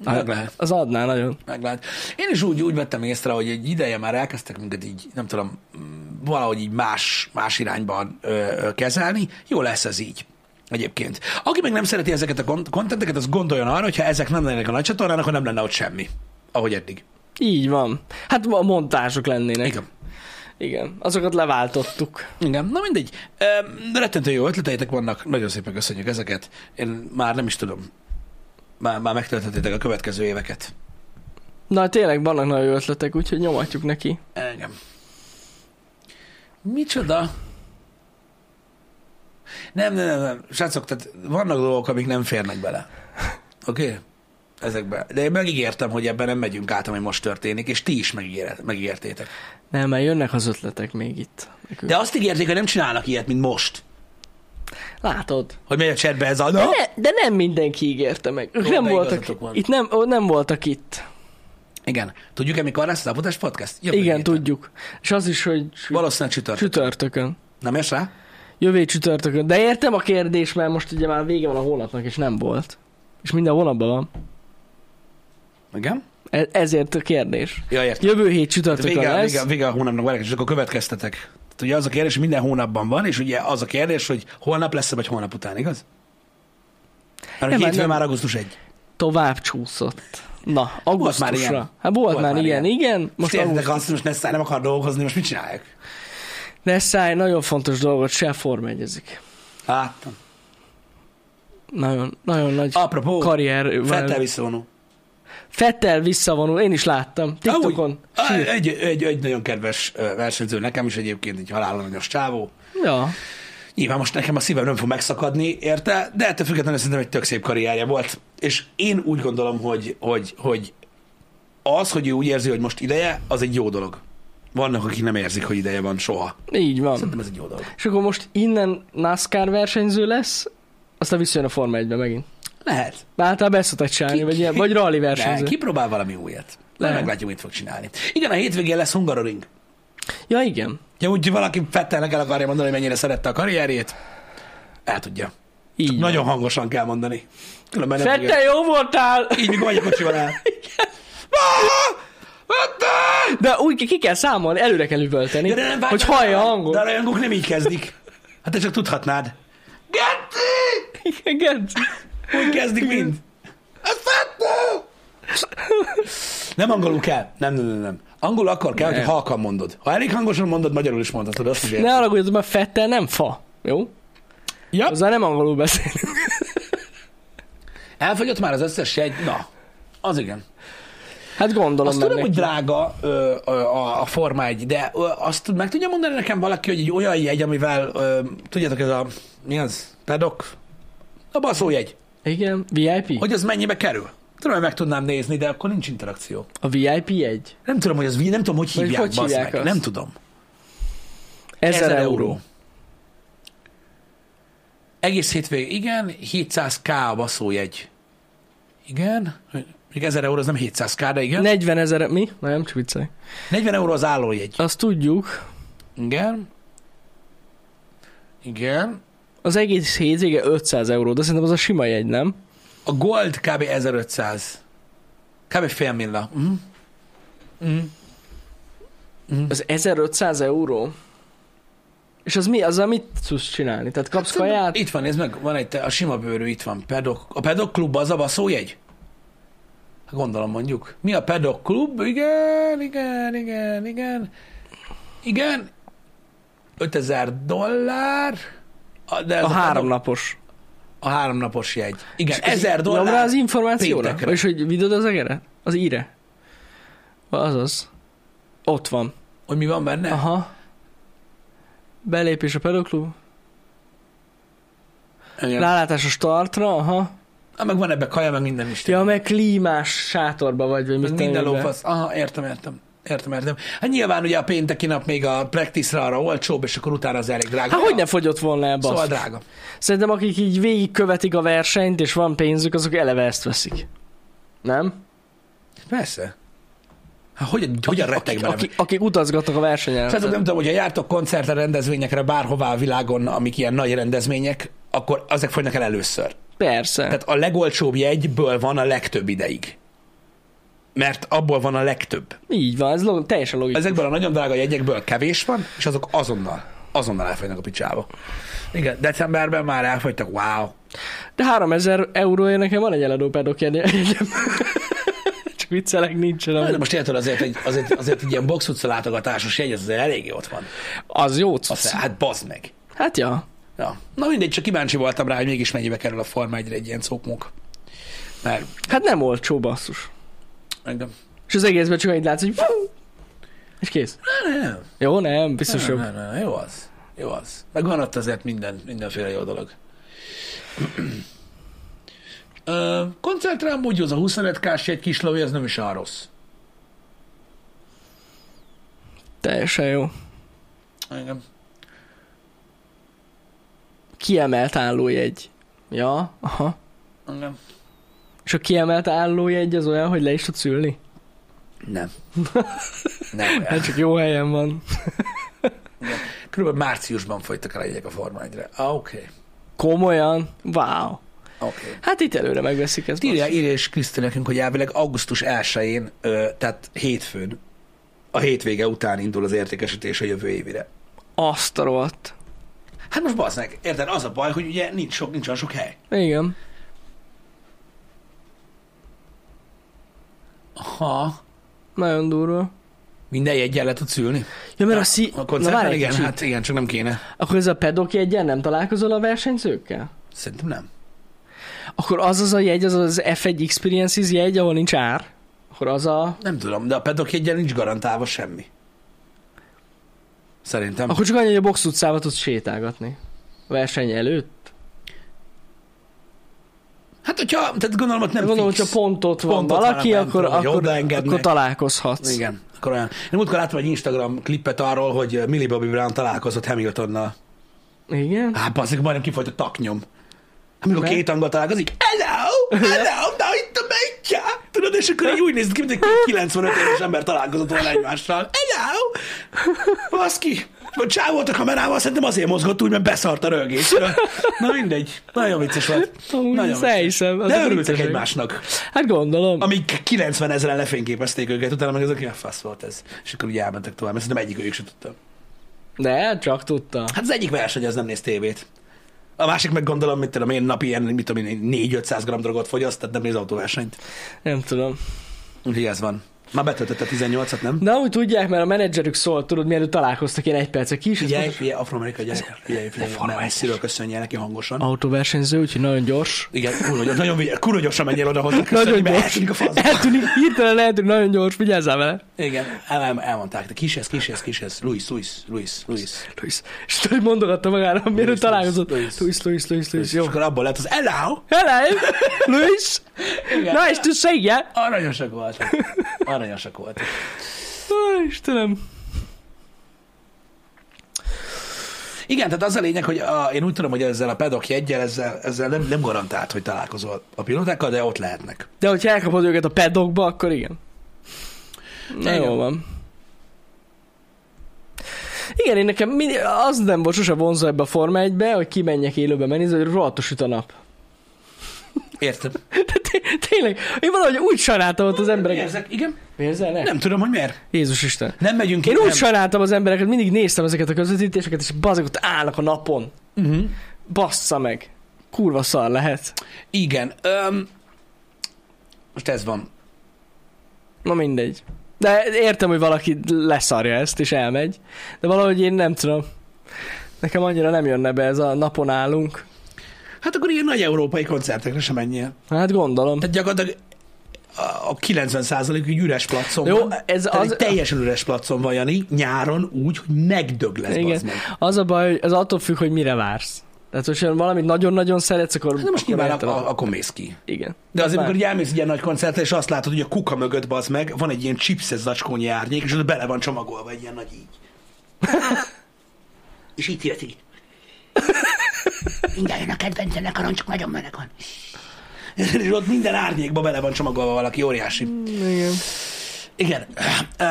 Speaker 1: Meg lehet.
Speaker 2: Az adná nagyon.
Speaker 1: Meg lehet. Én is úgy, úgy vettem észre, hogy egy ideje már elkezdtek minket így, nem tudom, mm, valahogy így más, más irányban ö, ö, kezelni. Jó lesz ez így. Egyébként. Aki meg nem szereti ezeket a kon- kontenteket, az gondoljon arra, hogy ha ezek nem lennének a nagy csatornán, akkor nem lenne ott semmi. Ahogy eddig.
Speaker 2: Így van. Hát a montázsok lennének.
Speaker 1: Igen.
Speaker 2: Igen. Azokat leváltottuk.
Speaker 1: Igen, na mindegy. Öm, Rettentő jó ötleteitek vannak, nagyon szépen köszönjük ezeket. Én már nem is tudom. már, már megtölthetitek a következő éveket.
Speaker 2: Na, tényleg vannak nagyon jó ötletek, úgyhogy nyomatjuk neki.
Speaker 1: Engem. Micsoda? Nem, nem, nem, nem. Srácok, tehát vannak dolgok, amik nem férnek bele. Oké? Okay? Ezekbe. De én megígértem, hogy ebben nem megyünk át, ami most történik, és ti is megígéret, megígértétek.
Speaker 2: Nem, mert jönnek az ötletek még itt. nekünk.
Speaker 1: De azt ígérték, hogy nem csinálnak ilyet, mint most.
Speaker 2: Látod?
Speaker 1: Hogy megy a csetbe ez a...
Speaker 2: De, ne, de nem mindenki ígérte meg. Ők
Speaker 1: Jó,
Speaker 2: nem
Speaker 1: de
Speaker 2: voltak,
Speaker 1: igazatok van.
Speaker 2: itt nem, ó, nem voltak itt.
Speaker 1: Igen. Tudjuk-e, mikor lesz az Apotás Podcast? Jövő
Speaker 2: Igen,
Speaker 1: héten.
Speaker 2: tudjuk. És az is, hogy csü-
Speaker 1: Valószínűleg csütörtök.
Speaker 2: csütörtökön.
Speaker 1: Nem érsz rá?
Speaker 2: Jövő hét csütörtökön. De értem a kérdés, mert most ugye már vége van a hónapnak, és nem volt. És minden hónapban van.
Speaker 1: Igen?
Speaker 2: E- ezért a kérdés.
Speaker 1: Ja, értem.
Speaker 2: Jövő hét
Speaker 1: Hát
Speaker 2: csütörtökön
Speaker 1: Vége,
Speaker 2: lesz.
Speaker 1: vége, vége a hónapnak, várják, és akkor következtetek. Tehát Ugye az a kérdés, hogy minden hónapban van, és ugye az a kérdés, hogy holnap lesz vagy holnap után, igaz? Mert
Speaker 2: Nem,
Speaker 1: nem,
Speaker 2: már
Speaker 1: hétfő
Speaker 2: nem.
Speaker 1: már augusztus 1.
Speaker 2: Tovább csúszott. Na, augusztusra.
Speaker 1: már ilyen.
Speaker 2: Hát volt, már, ilyen, igen.
Speaker 1: Most
Speaker 2: Most
Speaker 1: értitek
Speaker 2: augusztus.
Speaker 1: azt, hogy most Nessai nem akar dolgozni, most mit csinálják?
Speaker 2: De száj, nagyon fontos dolgot, se forma egyezik.
Speaker 1: Láttam.
Speaker 2: Nagyon, nagyon nagy
Speaker 1: Apropó,
Speaker 2: karrier.
Speaker 1: Fettel viszonó.
Speaker 2: Fettel visszavonul, én is láttam. TikTokon.
Speaker 1: Ah,
Speaker 2: Sír.
Speaker 1: egy, egy, egy, nagyon kedves ö, versenyző nekem is egyébként, egy halálanyos csávó.
Speaker 2: Ja.
Speaker 1: Nyilván most nekem a szívem nem fog megszakadni, érte? De ettől függetlenül szerintem egy tök szép karrierje volt. És én úgy gondolom, hogy, hogy, hogy az, hogy ő úgy érzi, hogy most ideje, az egy jó dolog. Vannak, akik nem érzik, hogy ideje van soha.
Speaker 2: Így van.
Speaker 1: Szerintem ez egy jó dolog.
Speaker 2: És akkor most innen NASCAR versenyző lesz, aztán visszajön a Forma 1-be megint.
Speaker 1: Lehet.
Speaker 2: Bár általában ezt szokták csinálni,
Speaker 1: Ki-
Speaker 2: vagy, ilyen, vagy rally
Speaker 1: De
Speaker 2: versenyző.
Speaker 1: kipróbál valami újat. Lehet.
Speaker 2: Lehet.
Speaker 1: Meglátjuk, mit fog csinálni. Igen, a hétvégén lesz Hungaroring.
Speaker 2: Ja, igen.
Speaker 1: Ja, úgy valaki fettelnek el akarja mondani, hogy mennyire szerette a karrierjét, el tudja.
Speaker 2: Így
Speaker 1: Így
Speaker 2: van.
Speaker 1: Nagyon hangosan kell mondani. Különben nem tudja.
Speaker 2: Fette, jó voltál!
Speaker 1: Így, mikor megy a kocsival el. Ah! Fettel!
Speaker 2: De úgy ki kell számolni, előre kell üvölteni,
Speaker 1: Ja, de nem
Speaker 2: hogy
Speaker 1: vágnak
Speaker 2: hallja a
Speaker 1: rá.
Speaker 2: hangot.
Speaker 1: De a rajongók nem így kezdik. Hát te csak tudhatnád. Geci!
Speaker 2: Igen, Gerci.
Speaker 1: Úgy kezdik mind. Ez fettő! Nem angolul kell. Nem, nem, nem, nem. Angolul akkor kell, hogy
Speaker 2: Nem.
Speaker 1: halkan mondod. Ha elég hangosan mondod, magyarul is mondhatod. Azt is értem.
Speaker 2: Ne haragudj, mert Fettel nem fa. Jó?
Speaker 1: Ja.
Speaker 2: Hozzá nem angolul beszélünk.
Speaker 1: Elfogyott már az összes egy. Na, az igen.
Speaker 2: Hát gondolom
Speaker 1: Azt
Speaker 2: mert
Speaker 1: tudom, hogy
Speaker 2: neki.
Speaker 1: drága ö, ö, a, a Forma 1, de ö, azt tud- meg tudja mondani nekem valaki, hogy egy olyan jegy, amivel, ö, tudjátok, ez a, mi az, pedok? A baszó jegy.
Speaker 2: Igen, VIP?
Speaker 1: Hogy az mennyibe kerül? Tudom, hogy meg tudnám nézni, de akkor nincs interakció.
Speaker 2: A VIP egy.
Speaker 1: Nem tudom, hogy az, vi- nem tudom, hogy
Speaker 2: Vagy
Speaker 1: hívják,
Speaker 2: hogy
Speaker 1: bassz
Speaker 2: hívják
Speaker 1: meg.
Speaker 2: azt?
Speaker 1: Nem tudom.
Speaker 2: 1000
Speaker 1: Ezer
Speaker 2: euró.
Speaker 1: Egész hétvég, igen, 700k a baszójegy. Igen, még 1000 euró az nem 700k, de igen.
Speaker 2: 40 ezer, mi? Na, nem csak viccelek.
Speaker 1: 40 euró az állójegy.
Speaker 2: Azt tudjuk,
Speaker 1: Igen. Igen.
Speaker 2: az egész hétvége 500 euró, de szerintem az a sima jegy, nem?
Speaker 1: A Gold kb. 1500. Kb. fél milla. Mhm.
Speaker 2: Az 1500 euró? És az mi, azzal mit tudsz csinálni? Tehát kapsz kaját?
Speaker 1: Itt van, nézd meg, van egy, te- a sima bőrű, itt van, pedok. A pedok klub az a baszójegy? Hát Gondolom mondjuk. Mi a pedok klub? Igen, igen, igen, igen. Igen. 5000 dollár. A- De ez
Speaker 2: A
Speaker 1: pedok-
Speaker 2: háromnapos.
Speaker 1: A háromnapos jegy. Igen,
Speaker 2: És
Speaker 1: ezer
Speaker 2: nyom rá
Speaker 1: dollár.
Speaker 2: az információra?
Speaker 1: péntekre.
Speaker 2: Vagyis, hogy vidod az egere? Az íre? Azaz. Ott van.
Speaker 1: Hogy mi van benne?
Speaker 2: Aha. Belépés a pedoklub.
Speaker 1: Igen.
Speaker 2: Rálátás a startra, aha.
Speaker 1: Ah, meg van ebbe kaja, meg minden is.
Speaker 2: Ja, meg klímás sátorba vagy, vagy
Speaker 1: Ez
Speaker 2: mit
Speaker 1: minden
Speaker 2: tudom én,
Speaker 1: lófasz. Aha, értem, értem. Értem, értem. Hát nyilván ugye a pénteki nap még a practice-ra arra olcsóbb, és akkor utána az elég drága.
Speaker 2: Hát hogy ne fogyott volna el,
Speaker 1: Szóval
Speaker 2: basz?
Speaker 1: drága.
Speaker 2: Szerintem akik így végigkövetik a versenyt, és van pénzük, azok eleve ezt veszik. Nem?
Speaker 1: Persze. Hát hogyan, hogyan rettek
Speaker 2: akik,
Speaker 1: bele?
Speaker 2: akik, akik utazgatnak a versenyen.
Speaker 1: Szóval nem tudom, hogyha jártok koncertre, rendezvényekre, bárhová a világon, amik ilyen nagy rendezvények, akkor ezek fogynak el először.
Speaker 2: Persze. Tehát,
Speaker 1: Tehát a legolcsóbb jegyből van a legtöbb ideig. Mert abból van a legtöbb.
Speaker 2: így van, ez log- teljesen logikus. Ez...
Speaker 1: Ezekből a nagyon drága jegyekből kevés van, és azok azonnal, azonnal elfogynak a picsába. Igen, decemberben már elfogytak, wow.
Speaker 2: De 3000 euróért nekem van egy eladó pedok Csak viccelek, nincsen.
Speaker 1: Na,
Speaker 2: amúgy.
Speaker 1: de most érted, azért egy, azért, azért egy ilyen box utca látogatásos jegy, az azért eléggé ott van.
Speaker 2: Az jó
Speaker 1: Azt,
Speaker 2: cucc.
Speaker 1: hát bazd meg.
Speaker 2: Hát ja.
Speaker 1: Ja. Na mindegy, csak kíváncsi voltam rá, hogy mégis mennyibe kerül a Forma 1 egy ilyen cokmunk. Mert
Speaker 2: Hát nem olcsó basszus.
Speaker 1: engem...
Speaker 2: És az egészben csak annyit látsz, hogy és kész.
Speaker 1: Nem, nem.
Speaker 2: Jó, nem, biztos jobb.
Speaker 1: Nem, nem, nem, jó az. Jó az. Meg van ott azért minden, mindenféle jó dolog. Ö, koncertre amúgy az a 25 k egy kis lóvé, az nem is olyan rossz.
Speaker 2: Teljesen jó.
Speaker 1: Engem.
Speaker 2: Kiemelt állójegy. Ja, aha.
Speaker 1: Engem.
Speaker 2: És a kiemelt állójegy az olyan, hogy le is tudsz ülni?
Speaker 1: Nem. nem olyan.
Speaker 2: Hát csak jó helyen van.
Speaker 1: Körülbelül márciusban folytak rá jegyek a Forma 1-re. Ah, Oké. Okay.
Speaker 2: Komolyan? Wow.
Speaker 1: Oké. Okay.
Speaker 2: Hát itt előre megveszik ezt.
Speaker 1: Írja,
Speaker 2: basszus.
Speaker 1: írja és Kriszti nekünk, hogy elvileg augusztus 1-én, ö, tehát hétfőn, a hétvége után indul az értékesítés a jövő évire.
Speaker 2: Azt a rohadt.
Speaker 1: Hát most bazd meg, érted? Az a baj, hogy ugye nincs sok, nincs olyan sok hely.
Speaker 2: Igen.
Speaker 1: Aha.
Speaker 2: Nagyon durva.
Speaker 1: Minden jegyen le tudsz ülni?
Speaker 2: Ja, mert
Speaker 1: Ja,
Speaker 2: a szí...
Speaker 1: A
Speaker 2: Na, várj
Speaker 1: koncerten
Speaker 2: egy
Speaker 1: igen,
Speaker 2: kicsit.
Speaker 1: hát igen, csak nem kéne.
Speaker 2: Akkor ez a pedok jegyen nem találkozol a versenyzőkkel?
Speaker 1: Szerintem nem.
Speaker 2: Akkor az az a jegy, az az F1 Experiences jegy, ahol nincs ár? Akkor az a...
Speaker 1: Nem tudom, de a pedok jegyen nincs garantálva semmi. Szerintem.
Speaker 2: Akkor csak annyi, hogy a box utcába tudsz sétálgatni. A verseny előtt?
Speaker 1: Hát, hogyha, tehát gondolom, hogy nem
Speaker 2: Nem Gondolom,
Speaker 1: fix.
Speaker 2: hogyha pont ott van
Speaker 1: Pont ott
Speaker 2: valaki,
Speaker 1: van a
Speaker 2: akkor,
Speaker 1: bentről, vagy
Speaker 2: akkor,
Speaker 1: odaengednek.
Speaker 2: akkor találkozhatsz.
Speaker 1: Igen, akkor olyan. Én múltkor láttam egy Instagram klippet arról, hogy eh, Millie Bobby Brown találkozott Hamiltonnal.
Speaker 2: Igen?
Speaker 1: Hát, baszik, majdnem kifolyt a taknyom. Hát, Amikor
Speaker 2: Ne?
Speaker 1: két angol találkozik, hello, hello, na itt a meccse. Tudod, és akkor így úgy nézett ki, mint egy 95 éves ember találkozott volna egymással. Hello! Baszki! A csávó volt a kamerával, szerintem azért mozgott úgy, mert beszart a rögésről. Na mindegy, nagyon vicces volt.
Speaker 2: Amúgy
Speaker 1: Nagyon
Speaker 2: ezt elhiszem, az
Speaker 1: De
Speaker 2: a
Speaker 1: örültek
Speaker 2: viccesek.
Speaker 1: egymásnak.
Speaker 2: Hát gondolom.
Speaker 1: Amíg 90 ezeren lefényképezték őket, utána meg ez a ilyen fasz volt ez. És akkor úgy elmentek tovább, mert szerintem egyik őjük sem tudta.
Speaker 2: De, csak tudta.
Speaker 1: Hát az egyik verseny az nem néz tévét. A másik meg gondolom, mit tudom én, napi ilyen, mit tudom én, 4-500 g drogot fogyaszt, tehát nem néz autóversenyt.
Speaker 2: Nem tudom.
Speaker 1: Úgyhogy ez van. Már betöltötte 18-at, nem?
Speaker 2: De úgy tudják, mert a menedzserük szólt, tudod, mielőtt találkoztak ilyen egy percre ki, és ezt
Speaker 1: Figyelj,
Speaker 2: mondta,
Speaker 1: figyelj, afroamerikai gyerek, figyelj, figyelj,
Speaker 2: Forma
Speaker 1: mert
Speaker 2: egyes.
Speaker 1: messziről köszönjél neki hangosan.
Speaker 2: autóversenyző, úgyhogy nagyon gyors.
Speaker 1: Igen, kurva gyors, nagyon vigyelj, kurva gyorsan menjél oda hozzá, köszönjük, mert eltűnik a faszba.
Speaker 2: Eltűnik, hirtelen eltűnik, nagyon gyors, vigyázzál vele.
Speaker 1: Igen, el, el, elmondták, de kishez, kishez, kishez, Luis, Luis, Luis, Luis.
Speaker 2: Luis. És tudod, hogy mondogatta magára, mielőtt
Speaker 1: Luis,
Speaker 2: találkozott.
Speaker 1: Luis.
Speaker 2: Luis, Luis, Luis, Luis, Luis,
Speaker 1: És
Speaker 2: jó.
Speaker 1: akkor abból lett az Hello!
Speaker 2: Hello, Luis.
Speaker 1: Igen.
Speaker 2: Nice to see ya.
Speaker 1: Aranyosak voltak. Aranyosak voltak.
Speaker 2: Ó, Istenem.
Speaker 1: Igen, tehát az a lényeg, hogy a, én úgy tudom, hogy ezzel a pedok jegyel, ezzel, ezzel nem, nem garantált, hogy találkozol a pilótákkal, de ott lehetnek.
Speaker 2: De hogyha elkapod őket a pedokba, akkor igen. Na
Speaker 1: Igen.
Speaker 2: jó van. Igen, én nekem mind, az nem volt sose vonzó ebbe a Forma 1-be, hogy kimenjek élőbe menni, hogy rohadtos süt a nap.
Speaker 1: Értem.
Speaker 2: De té- tényleg, én valahogy úgy sajnáltam ott az embereket.
Speaker 1: Érzek, igen.
Speaker 2: Érzelnek?
Speaker 1: Nem tudom, hogy miért.
Speaker 2: Jézus Isten.
Speaker 1: Nem megyünk
Speaker 2: Én
Speaker 1: ki,
Speaker 2: úgy
Speaker 1: nem.
Speaker 2: sajnáltam az embereket, mindig néztem ezeket a közvetítéseket, és bazeg ott állnak a napon.
Speaker 1: Uh-huh.
Speaker 2: Bassza meg. Kurva szar lehet.
Speaker 1: Igen. Um, most ez van.
Speaker 2: Na mindegy. De értem, hogy valaki leszarja ezt, és elmegy. De valahogy én nem tudom. Nekem annyira nem jönne be ez a napon állunk.
Speaker 1: Hát akkor ilyen nagy európai koncertekre sem menjél.
Speaker 2: Hát gondolom.
Speaker 1: Tehát gyakorlatilag a- a 90 egy üres placon
Speaker 2: Jó,
Speaker 1: van.
Speaker 2: ez
Speaker 1: Tehát
Speaker 2: az-
Speaker 1: egy teljesen üres placon van, Jani, nyáron úgy, hogy megdög lesz.
Speaker 2: Igen.
Speaker 1: bazd meg.
Speaker 2: Az a baj, hogy az attól függ, hogy mire vársz. Tehát, hogyha valamit nagyon-nagyon szeretsz, akkor...
Speaker 1: Hát de most
Speaker 2: akkor
Speaker 1: nyilván
Speaker 2: érted.
Speaker 1: a, a, akkor mész ki.
Speaker 2: Igen.
Speaker 1: De azért,
Speaker 2: Már-
Speaker 1: amikor így elmész egy ilyen nagy koncertre, és azt látod, hogy a kuka mögött bazd meg, van egy ilyen chipses zacskónyi árnyék, és ott bele van csomagolva egy ilyen nagy így. és így tilti. Mindjárt jön a kedvencemnek a roncsok, nagyon meleg van. és ott minden árnyékba bele van csomagolva valaki, óriási.
Speaker 2: Igen.
Speaker 1: Igen.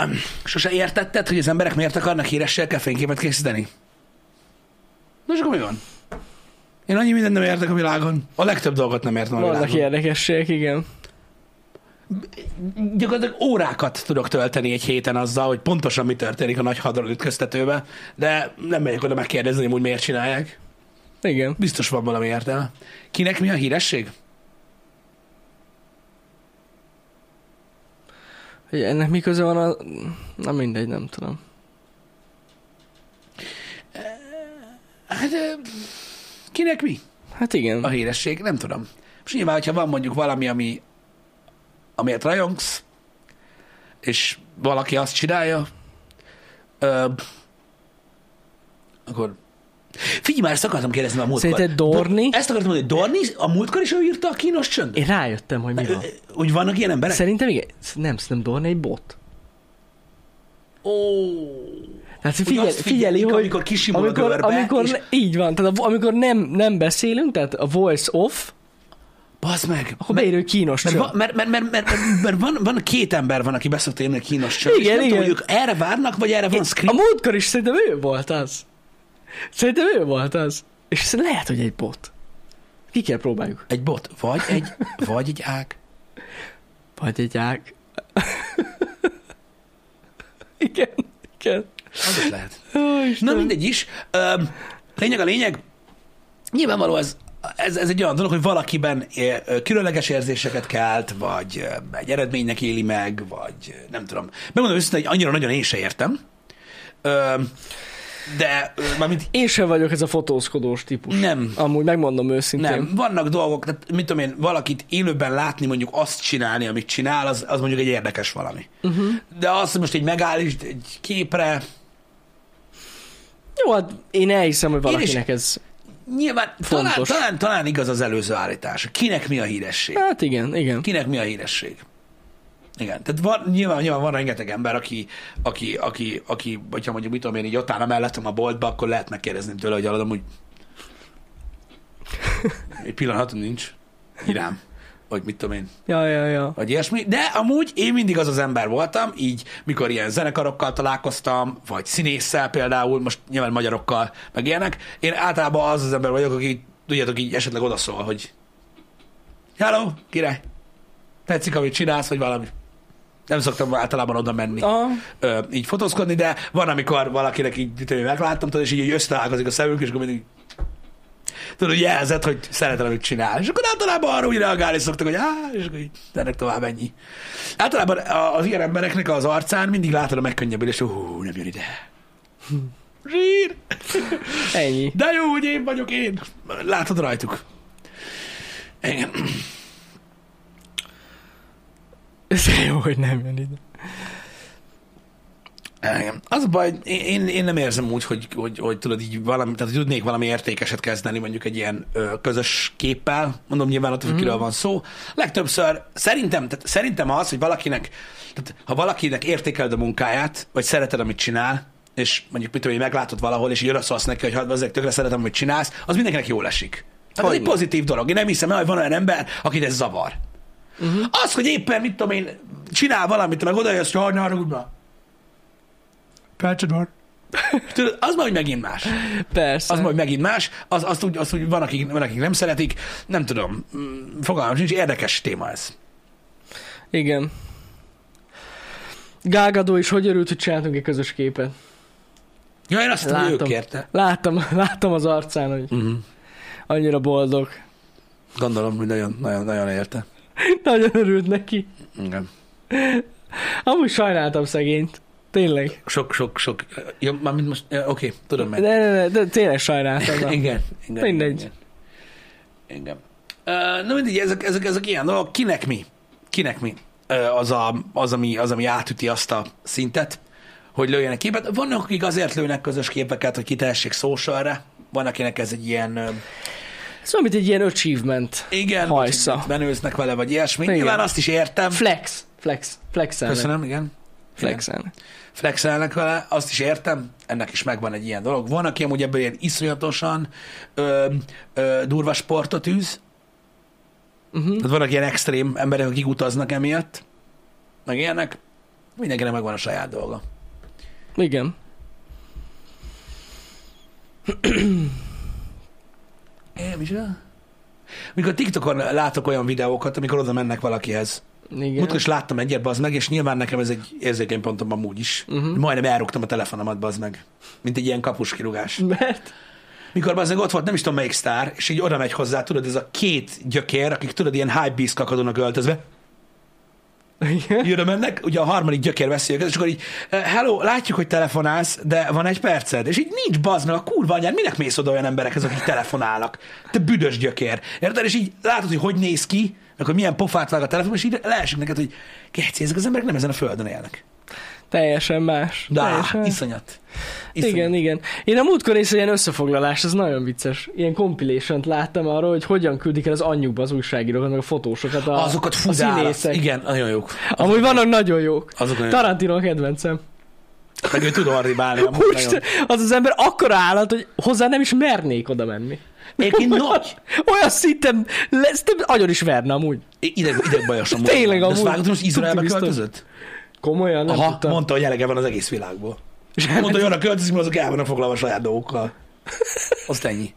Speaker 1: Um, sose értetted, hogy az emberek miért akarnak híressel kell fényképet készíteni? Na, és akkor mi van? Én annyi mindent nem értek a világon. A legtöbb dolgot nem értem a világon.
Speaker 2: Vannak érdekességek, igen.
Speaker 1: gyakorlatilag órákat tudok tölteni egy héten azzal, hogy pontosan mi történik a nagy hadron ütköztetőben, de nem megyek oda megkérdezni, hogy úgy miért csinálják.
Speaker 2: Igen.
Speaker 1: Biztos van valami értelme. Kinek mi a híresség?
Speaker 2: Hogy ennek mi köze van a... Na mindegy, nem tudom.
Speaker 1: Hát, ö, kinek mi
Speaker 2: Hát
Speaker 1: a
Speaker 2: igen. Hát
Speaker 1: híresség? Nem tudom. Most És nyilván, hogyha van mondjuk valami, ami, amiért rajongsz, és valaki azt csinálja, ö, akkor... Figyelj már, ezt akartam kérdezni már a múltkor.
Speaker 2: Szerinted Dorni?
Speaker 1: Ezt akartam mondani, hogy Dorni a múltkor is ő írta a kínos csönd?
Speaker 2: Én rájöttem, hogy mi van.
Speaker 1: Úgy vannak ilyen emberek?
Speaker 2: Szerintem igen. Nem, szerintem Dorni egy bot.
Speaker 1: Ó.
Speaker 2: Tehát
Speaker 1: Ugye
Speaker 2: figyel,
Speaker 1: azt
Speaker 2: figyeli,
Speaker 1: figyelik,
Speaker 2: hogy
Speaker 1: amikor kisimul a görbe,
Speaker 2: amikor,
Speaker 1: és-
Speaker 2: Így van, tehát a, amikor nem, nem beszélünk, tehát a voice off,
Speaker 1: Bazd meg.
Speaker 2: akkor beírő hogy kínos
Speaker 1: Mert,
Speaker 2: csönd.
Speaker 1: va- mert, mert, mert, mert, mert van, van két ember, van, aki beszokta írni a kínos csönd.
Speaker 2: Igen,
Speaker 1: és nem
Speaker 2: igen.
Speaker 1: Tudom, hogy ők erre várnak, vagy erre van
Speaker 2: A
Speaker 1: script.
Speaker 2: múltkor is szerintem ő volt az. Szerintem ő volt az. És szerintem lehet, hogy egy bot. Ki kell próbáljuk.
Speaker 1: Egy bot, vagy egy, vagy egy ág.
Speaker 2: Vagy egy ág. igen, igen.
Speaker 1: Az is lehet.
Speaker 2: Ó,
Speaker 1: Na
Speaker 2: Istenem.
Speaker 1: mindegy is. Öm, lényeg a lényeg, nyilvánvaló ez, ez, ez egy olyan dolog, hogy valakiben ö, ö, különleges érzéseket kelt, vagy ö, egy eredménynek éli meg, vagy ö, nem tudom. Megmondom őszintén, hogy annyira nagyon én se értem. Öm, De ö, mármint
Speaker 2: Én sem vagyok ez a fotózkodós típus.
Speaker 1: nem,
Speaker 2: Amúgy megmondom őszintén.
Speaker 1: nem. Vannak dolgok, tehát mit tudom én, valakit élőben látni, mondjuk azt csinálni, amit csinál, az, az mondjuk egy érdekes valami. Uh-huh. De azt, hogy most egy megállítsd egy képre,
Speaker 2: Jó, hát én elhiszem, hogy
Speaker 1: Én is-
Speaker 2: valakinek ez...
Speaker 1: Nyilván talán,
Speaker 2: Fontos.
Speaker 1: talán, talán igaz az előző állítás. Kinek mi a híresség?
Speaker 2: Hát igen, igen.
Speaker 1: Kinek mi a híresség? Igen, tehát van, nyilván, nyilván van rengeteg ember, aki, aki, aki, aki hogyha mondjuk mit tudom én, így ott áll a mellettem a boltba, akkor lehet megkérdezni tőle, hogy aladom, hogy egy pillanatom nincs irám, vagy mit tudom én,
Speaker 2: Ja, ja, ja.
Speaker 1: vagy ilyesmi, de amúgy én mindig az az ember voltam, így mikor ilyen zenekarokkal találkoztam, vagy színésszel például, most nyilván magyarokkal, meg ilyenek, én általában az az ember vagyok, aki tudjátok így esetleg odaszól, hogy Hello, király, tetszik, amit csinálsz, vagy valami. Nem szoktam általában oda menni
Speaker 2: Aha.
Speaker 1: ö, így fotózkodni, de van, amikor valakinek így mit tudom én, megláttam, tudod, és így, így összeállkozik a szemünk, és akkor mindig tudod, hogy jelzett, hogy szeretem, amit csinál. És akkor általában arra úgy reagálni szoktak, hogy áh, és akkor így ennek tovább ennyi. Általában a- az ilyen embereknek az arcán mindig látod a megkönnyebbülést, hogy hú, nem jön ide. Zsír!
Speaker 2: Ennyi.
Speaker 1: De jó, hogy én vagyok én. Látod rajtuk. Engem.
Speaker 2: Ez jó, hogy nem jön ide.
Speaker 1: Eh, Igen. Az a baj, én- én, én nem érzem úgy, hogy, hogy, hogy tudod, így valami, tehát hogy tudnék valami értékeset kezdeni mondjuk egy ilyen ö, közös képpel, mondom nyilván attól, hogy kiről van szó. Legtöbbször szerintem, tehát szerintem az, hogy valakinek, tehát ha valakinek értékeled a munkáját, vagy szereted, amit csinál, és mondjuk mit tudom, én, meglátod valahol, és így oda szólsz neki, hogy hát azért tökre szeretem, amit csinálsz, az mindenkinek jól esik. Tehát ez egy
Speaker 2: Hogyne.
Speaker 1: pozitív dolog. Én nem hiszem el, hogy van olyan ember, akit ez zavar. Uh-huh. Az, hogy éppen, mit tudom én, csinál valamit, meg oda jössz, hogy "Jaj, ne haragudj már." Kácsod van. Tudod, az majd megint más.
Speaker 2: Persze.
Speaker 1: Az majd megint más. Az, azt úgy, azt úgy van, akik, van, akik nem szeretik. Nem tudom. Mm, Fogalmam sincs. Érdekes téma ez.
Speaker 2: Igen. Gágadó is hogy örült, hogy csináltunk egy közös képet.
Speaker 1: Ja, én azt tudom, hogy ő
Speaker 2: Látom.
Speaker 1: kérte.
Speaker 2: Láttam, láttam az arcán, hogy
Speaker 1: Uh-huh.
Speaker 2: annyira boldog.
Speaker 1: Gondolom, hogy nagyon, nagyon, nagyon érte.
Speaker 2: Nagyon örült neki.
Speaker 1: Igen.
Speaker 2: Amúgy sajnáltam szegényt. Tényleg.
Speaker 1: Sok, sok, sok. Ja, mármint most, ja, oké, okay, tudom
Speaker 2: De,
Speaker 1: meg.
Speaker 2: de, de, de tényleg sajnáltam. na.
Speaker 1: igen, igen.
Speaker 2: Mindegy.
Speaker 1: Igen. igen. Uh, na mindegy, ezek, ezek, ezek ilyen dolgok. Kinek mi? Kinek mi? Uh, az, a, az, ami, az, ami átüti azt a szintet, hogy lőjenek képet. Vannak, akik azért lőnek közös képeket, hogy kitehessék socialre. Van, akinek ez egy ilyen... Uh,
Speaker 2: Szóval, mint egy ilyen achievement.
Speaker 1: igen,
Speaker 2: Hajsza.
Speaker 1: vagy benőznek vele, vagy ilyesmi. Igen.
Speaker 2: Igen.
Speaker 1: Nyilván azt is értem.
Speaker 2: Flex. Flex. Flexelnek.
Speaker 1: Köszönöm, igen.
Speaker 2: Flexelnek.
Speaker 1: flexelnek vele, azt is értem, ennek is megvan egy ilyen dolog. Van, aki amúgy ebből ilyen iszonyatosan ö, ö, durva sportot űz,
Speaker 2: Mhm.
Speaker 1: tehát Hát vannak ilyen extrém emberek, akik utaznak emiatt, meg ilyenek, mindenkinek megvan a saját dolga.
Speaker 2: Igen.
Speaker 1: Én is Mikor TikTokon látok olyan videókat, amikor oda mennek valakihez.
Speaker 2: Igen.
Speaker 1: Múltkor is láttam egyet, bazd meg, és nyilván nekem ez egy érzékeny pontom amúgy is.
Speaker 2: Mhm.
Speaker 1: Majdnem elrúgtam a telefonomat, bazd meg. Mint egy ilyen kapus kirúgás.
Speaker 2: Mert?
Speaker 1: Mikor az ott volt, nem is tudom melyik sztár, és így oda megy hozzá, tudod, ez a két gyökér, akik tudod, ilyen hype beast kakadónak öltözve. Jön mennek, ugye a harmadik gyökér veszi őket, és akkor így, "Eh, hello, látjuk, hogy telefonálsz, de van egy perced, és így nincs bazd meg, a kurva anyád, minek mész oda olyan emberekhez, akik telefonálnak? Te büdös gyökér. Érted? És így látod, hogy hogy néz ki, akkor milyen pofát vág a telefon, és így leesik neked, hogy geci, ezek az emberek nem ezen a földön élnek.
Speaker 2: Teljesen más.
Speaker 1: De
Speaker 2: teljesen.
Speaker 1: á, iszonyat. iszonyat.
Speaker 2: Igen, igen. Én a múltkor észre ilyen összefoglalás, ez nagyon vicces. Ilyen compilation láttam arról, hogy hogyan küldik el az anyjukba az újságírókat, meg a fotósokat. A,
Speaker 1: Azokat
Speaker 2: a
Speaker 1: fuzálsz.
Speaker 2: színészek.
Speaker 1: Igen, nagyon jók.
Speaker 2: Amúgy vannak nagyon jók.
Speaker 1: Azok nagyon jók.
Speaker 2: Tarantino a kedvencem.
Speaker 1: Meg ő tud arribálni. amúgy nagyon.
Speaker 2: Úristen, az az ember akkora állat, hogy hozzá nem is mernék oda menni.
Speaker 1: Egyébként nagy.
Speaker 2: Olyan szinten lesz, te agyon is verne amúgy.
Speaker 1: Ideg, ideg bajos amúgy.
Speaker 2: Tényleg
Speaker 1: De azt
Speaker 2: amúgy.
Speaker 1: vágod, hogy most Izraelbe
Speaker 2: Tuti biztos.
Speaker 1: költözött?
Speaker 2: Komolyan, nem
Speaker 1: Aha,
Speaker 2: tudtam.
Speaker 1: mondta, hogy elege van az egész világból. Mondta, hogy arra költözik, mert azok el vannak foglalva a saját dolgokkal. Azt ennyi.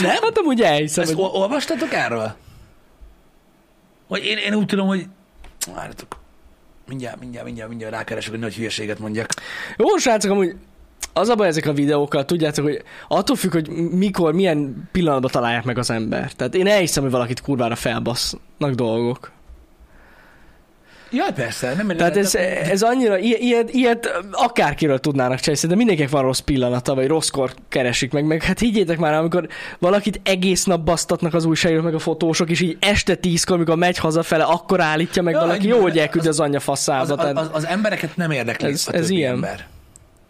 Speaker 1: Nem?
Speaker 2: Hát amúgy elhiszem,
Speaker 1: Ezt
Speaker 2: hogy...
Speaker 1: ol- olvastatok erről? Hogy én, én úgy tudom, hogy... Várjatok. Mindjárt, mindjárt, mindjárt, mindjárt rákeresek, hogy nagy hülyeséget mondjak.
Speaker 2: Jó, srácok, amúgy az a baj ezek a videókkal, tudjátok, hogy attól függ, hogy mikor, milyen pillanatban találják meg az ember. Tehát én elhiszem, hogy valakit kurvára felbasznak dolgok.
Speaker 1: Jaj, persze. Nem,
Speaker 2: Tehát
Speaker 1: nem,
Speaker 2: ez,
Speaker 1: nem,
Speaker 2: ez annyira, i- ilyet, ilyet akárkiről tudnának csinálni, de mindenkinek van rossz pillanata, vagy rosszkor keresik meg, meg hát higgyétek már, amikor valakit egész nap basztatnak az újságírók, meg a fotósok, és így este tízkor, amikor megy hazafele, akkor állítja meg
Speaker 1: Ja,
Speaker 2: ja, valaki,
Speaker 1: egy-
Speaker 2: jó, hogy elküldi az anyja faszába.
Speaker 1: az, az,
Speaker 2: tehát-
Speaker 1: az, az, embereket nem érdekli
Speaker 2: Ez-
Speaker 1: a
Speaker 2: ez
Speaker 1: többi
Speaker 2: ilyen.
Speaker 1: ember.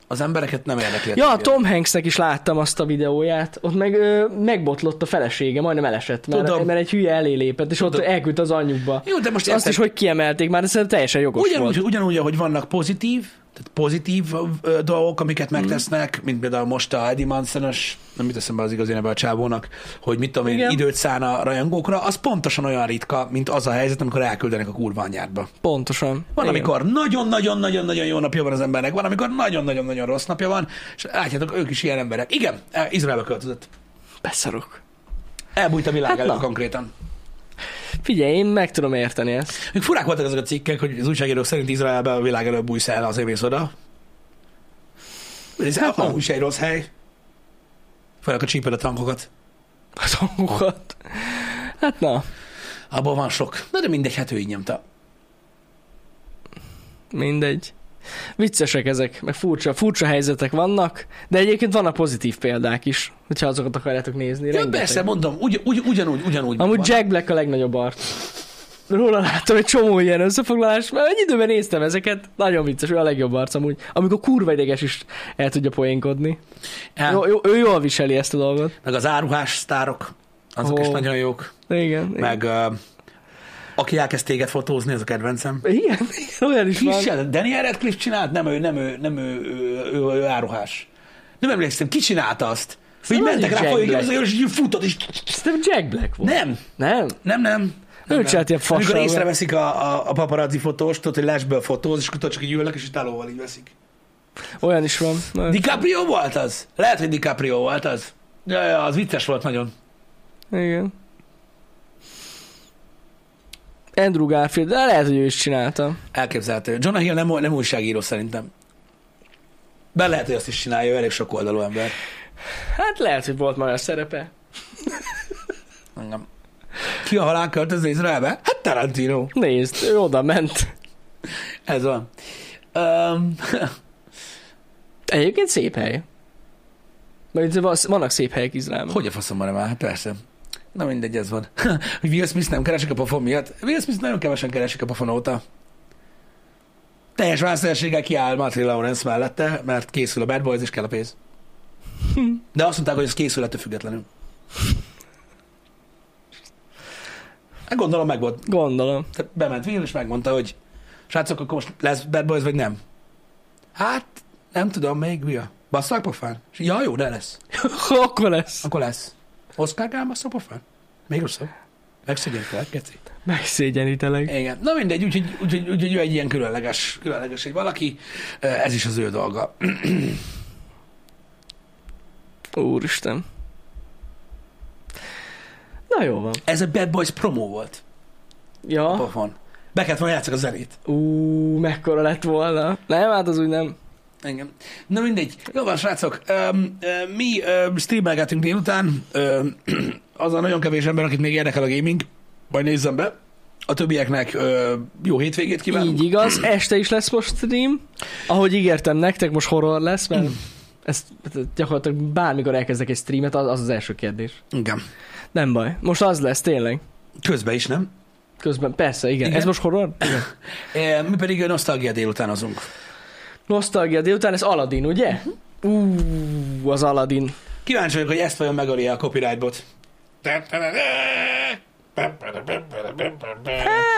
Speaker 1: Az embereket nem érdekli.
Speaker 2: Ja, a
Speaker 1: többi
Speaker 2: Tom Hanksnek is láttam azt a videóját, ott meg ö, megbotlott a felesége, majdnem elesett, mert,
Speaker 1: Tudom.
Speaker 2: mert egy hülye elé lépett, és ott
Speaker 1: Tudom.
Speaker 2: elküldte az anyjukba.
Speaker 1: ember. Jó, de most
Speaker 2: Azt is, hogy kiemelték már, de szerintem teljesen jogos
Speaker 1: Ugyanúgy,
Speaker 2: volt.
Speaker 1: ugyanúgy, ahogy vannak pozitív, tehát pozitív ö, dolgok, amiket
Speaker 2: Hmm.
Speaker 1: megtesznek, mint például most a Eddie Manson-os, nem jut eszembe az igazi neve a csávónak, hogy mit tudom én,
Speaker 2: Igen.
Speaker 1: időt szán a rajongókra, az pontosan olyan ritka, mint az a helyzet, amikor elküldenek a kurva anyádba.
Speaker 2: Pontosan.
Speaker 1: Van,
Speaker 2: Igen.
Speaker 1: amikor nagyon-nagyon-nagyon-nagyon jó napja van az embernek, van, amikor nagyon-nagyon-nagyon rossz napja van, és látjátok, ők is ilyen emberek. Igen, eh, Izraelbe költözött.
Speaker 2: Beszarok.
Speaker 1: Elbújt a világ
Speaker 2: Hát
Speaker 1: hát előtt
Speaker 2: na.
Speaker 1: konkrétan.
Speaker 2: Figyelj, én meg tudom érteni ezt.
Speaker 1: Még furák voltak ezek a cikkek, hogy az újságírók szerint Izraelben a világ előbb bújsz el, azért mész oda. Ez hát amúgy se egy rossz hely. Főleg a csíped a tankokat.
Speaker 2: Az hangokat. Hát na,
Speaker 1: Abban van sok. Na de mindegy, hát ő így nyomta.
Speaker 2: mindegy. Viccesek ezek, meg furcsa, furcsa helyzetek vannak, de egyébként vannak pozitív példák is, hogyha azokat akarjátok nézni.
Speaker 1: Ja,
Speaker 2: rengeteg.
Speaker 1: persze, mondom, ugy, ugy, ugyanúgy, ugyanúgy.
Speaker 2: Amúgy
Speaker 1: van.
Speaker 2: Jack Black a legnagyobb art. Róla láttam egy csomó ilyen összefoglalás, mert egy időben néztem ezeket, nagyon vicces, ő a legjobb arc amúgy. Amikor kurva ideges is el tudja poénkodni.
Speaker 1: Hát,
Speaker 2: Jó, jó, ő jól viseli ezt a dolgot.
Speaker 1: Meg az áruhás sztárok, azok
Speaker 2: Ó.
Speaker 1: is nagyon jók.
Speaker 2: Igen. igen.
Speaker 1: Meg ö, aki elkezd téged fotózni, az a kedvencem.
Speaker 2: Igen, igen, olyan is van.
Speaker 1: Kisel, Daniel Radcliffe csinált? Nem ő, nem ő, nem ő, ő, ő, ő áruhás. Nem emlékszem, ki csinálta azt? Hogy
Speaker 2: Szerintem
Speaker 1: mentek
Speaker 2: az
Speaker 1: rá
Speaker 2: Jack
Speaker 1: folyik,
Speaker 2: Black.
Speaker 1: és így futott, és
Speaker 2: Szerintem Jack Black volt.
Speaker 1: nem,
Speaker 2: Nem?
Speaker 1: nem, nem.
Speaker 2: Ő
Speaker 1: nem,
Speaker 2: csinált ilyen fasságot.
Speaker 1: Amikor észreveszik a, a, a paparazzi fotóst, tudod, hogy lesből fotóz, és akkor csak így ülnek, és itálóval így veszik.
Speaker 2: Olyan is van. Na,
Speaker 1: DiCaprio volt az? Lehet, hogy DiCaprio volt az. Ja, ja, az vicces volt nagyon.
Speaker 2: Igen. Andrew Garfield, de lehet, hogy ő is csinálta.
Speaker 1: Elképzelhető. Jonah Hill nem, nem újságíró szerintem. Be lehet, hogy azt is csinálja, ő elég sok oldalú ember.
Speaker 2: Hát lehet, hogy volt már a szerepe.
Speaker 1: Engem. Ki a halál költöző Izraelbe? Hát Tarantino.
Speaker 2: Nézd, ő oda ment.
Speaker 1: Ez van. Um,
Speaker 2: Egyébként szép hely. Mert itt van- vannak szép helyek Izraelben.
Speaker 1: hogy a faszom van már? Hát persze. Na mindegy, ez van. Hogy Will Smith nem keresik a pofon miatt. Will Smith nagyon kevesen keresik a pofon óta. Teljes választásséggel kiáll Martin Lawrence mellette, mert készül a Bad Boys és kell a pénz. De azt mondták, hogy ez készül ettől függetlenül. Hát gondolom meg volt.
Speaker 2: Gondolom.
Speaker 1: Tehát bement Will, és megmondta, hogy srácok, akkor most lesz Bad Boys, vagy nem? Hát, nem tudom még, mi a... Basszák pofán? És, Ja, jó, de lesz.
Speaker 2: Akkor lesz.
Speaker 1: Akkor lesz. Oscar Gál basszák pofán? Még rosszabb. Megszegyen fel, keci.
Speaker 2: Megszégyenítelek.
Speaker 1: Igen. Na mindegy, úgyhogy úgy, úgy, úgy, ő egy ilyen különleges, különleges egy valaki. Ez is az ő dolga.
Speaker 2: Úristen. Na jó van.
Speaker 1: Ez a Bad Boys promó volt a
Speaker 2: Ja.
Speaker 1: pofon. Be kellett volna játszak a zenét.
Speaker 2: Ú, mekkora lett volna. Nem, hát az úgy nem.
Speaker 1: Igen. Na mindegy. Jó van, srácok. Öm, ö, mi öm, streamelgetünk délután. Öm, az a nagyon kevés ember, akit még érdekel a gaming. Majd nézzem be. A többieknek ö, jó hétvégét kívánunk.
Speaker 2: Így igaz. Este is lesz most stream. Ahogy ígértem nektek, most horror lesz, mert ezt gyakorlatilag bármikor elkezdek egy streamet, az az, az első kérdés.
Speaker 1: Igen.
Speaker 2: Nem baj. Most az lesz, tényleg.
Speaker 1: Közben is, nem?
Speaker 2: Közben, persze, igen.
Speaker 1: Igen.
Speaker 2: igen. Ez most horror? Igen.
Speaker 1: E, mi pedig nosztalgia délután azunk.
Speaker 2: Nosztalgia délután, ez Aladdin, ugye? Ú, az Aladdin.
Speaker 1: Kíváncsi vagyok, hogy ezt vajon megöli a copyrightbot.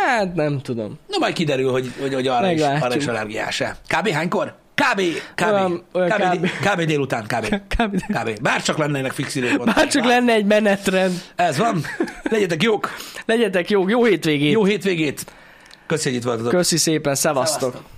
Speaker 2: Hát nem tudom.
Speaker 1: Na majd kiderül, hogy, hogy, hogy arra, is,
Speaker 2: Meglátjuk.
Speaker 1: arra is allergiás-e. Kb. hánykor? Kb. Kb.
Speaker 2: Olyan- olyan
Speaker 1: kb.
Speaker 2: kb.
Speaker 1: kb. délután, kb. Kb. Bárcsak lennének fix időpontok.
Speaker 2: Bár csak lenne egy menetrend.
Speaker 1: Ez van. Legyetek jók.
Speaker 2: Legyetek jók, jó hétvégét. Jó.
Speaker 1: Jó hétvégét. Köszi, hogy itt voltatok.
Speaker 2: Köszi szépen, szevasztok.
Speaker 1: Szevasztok.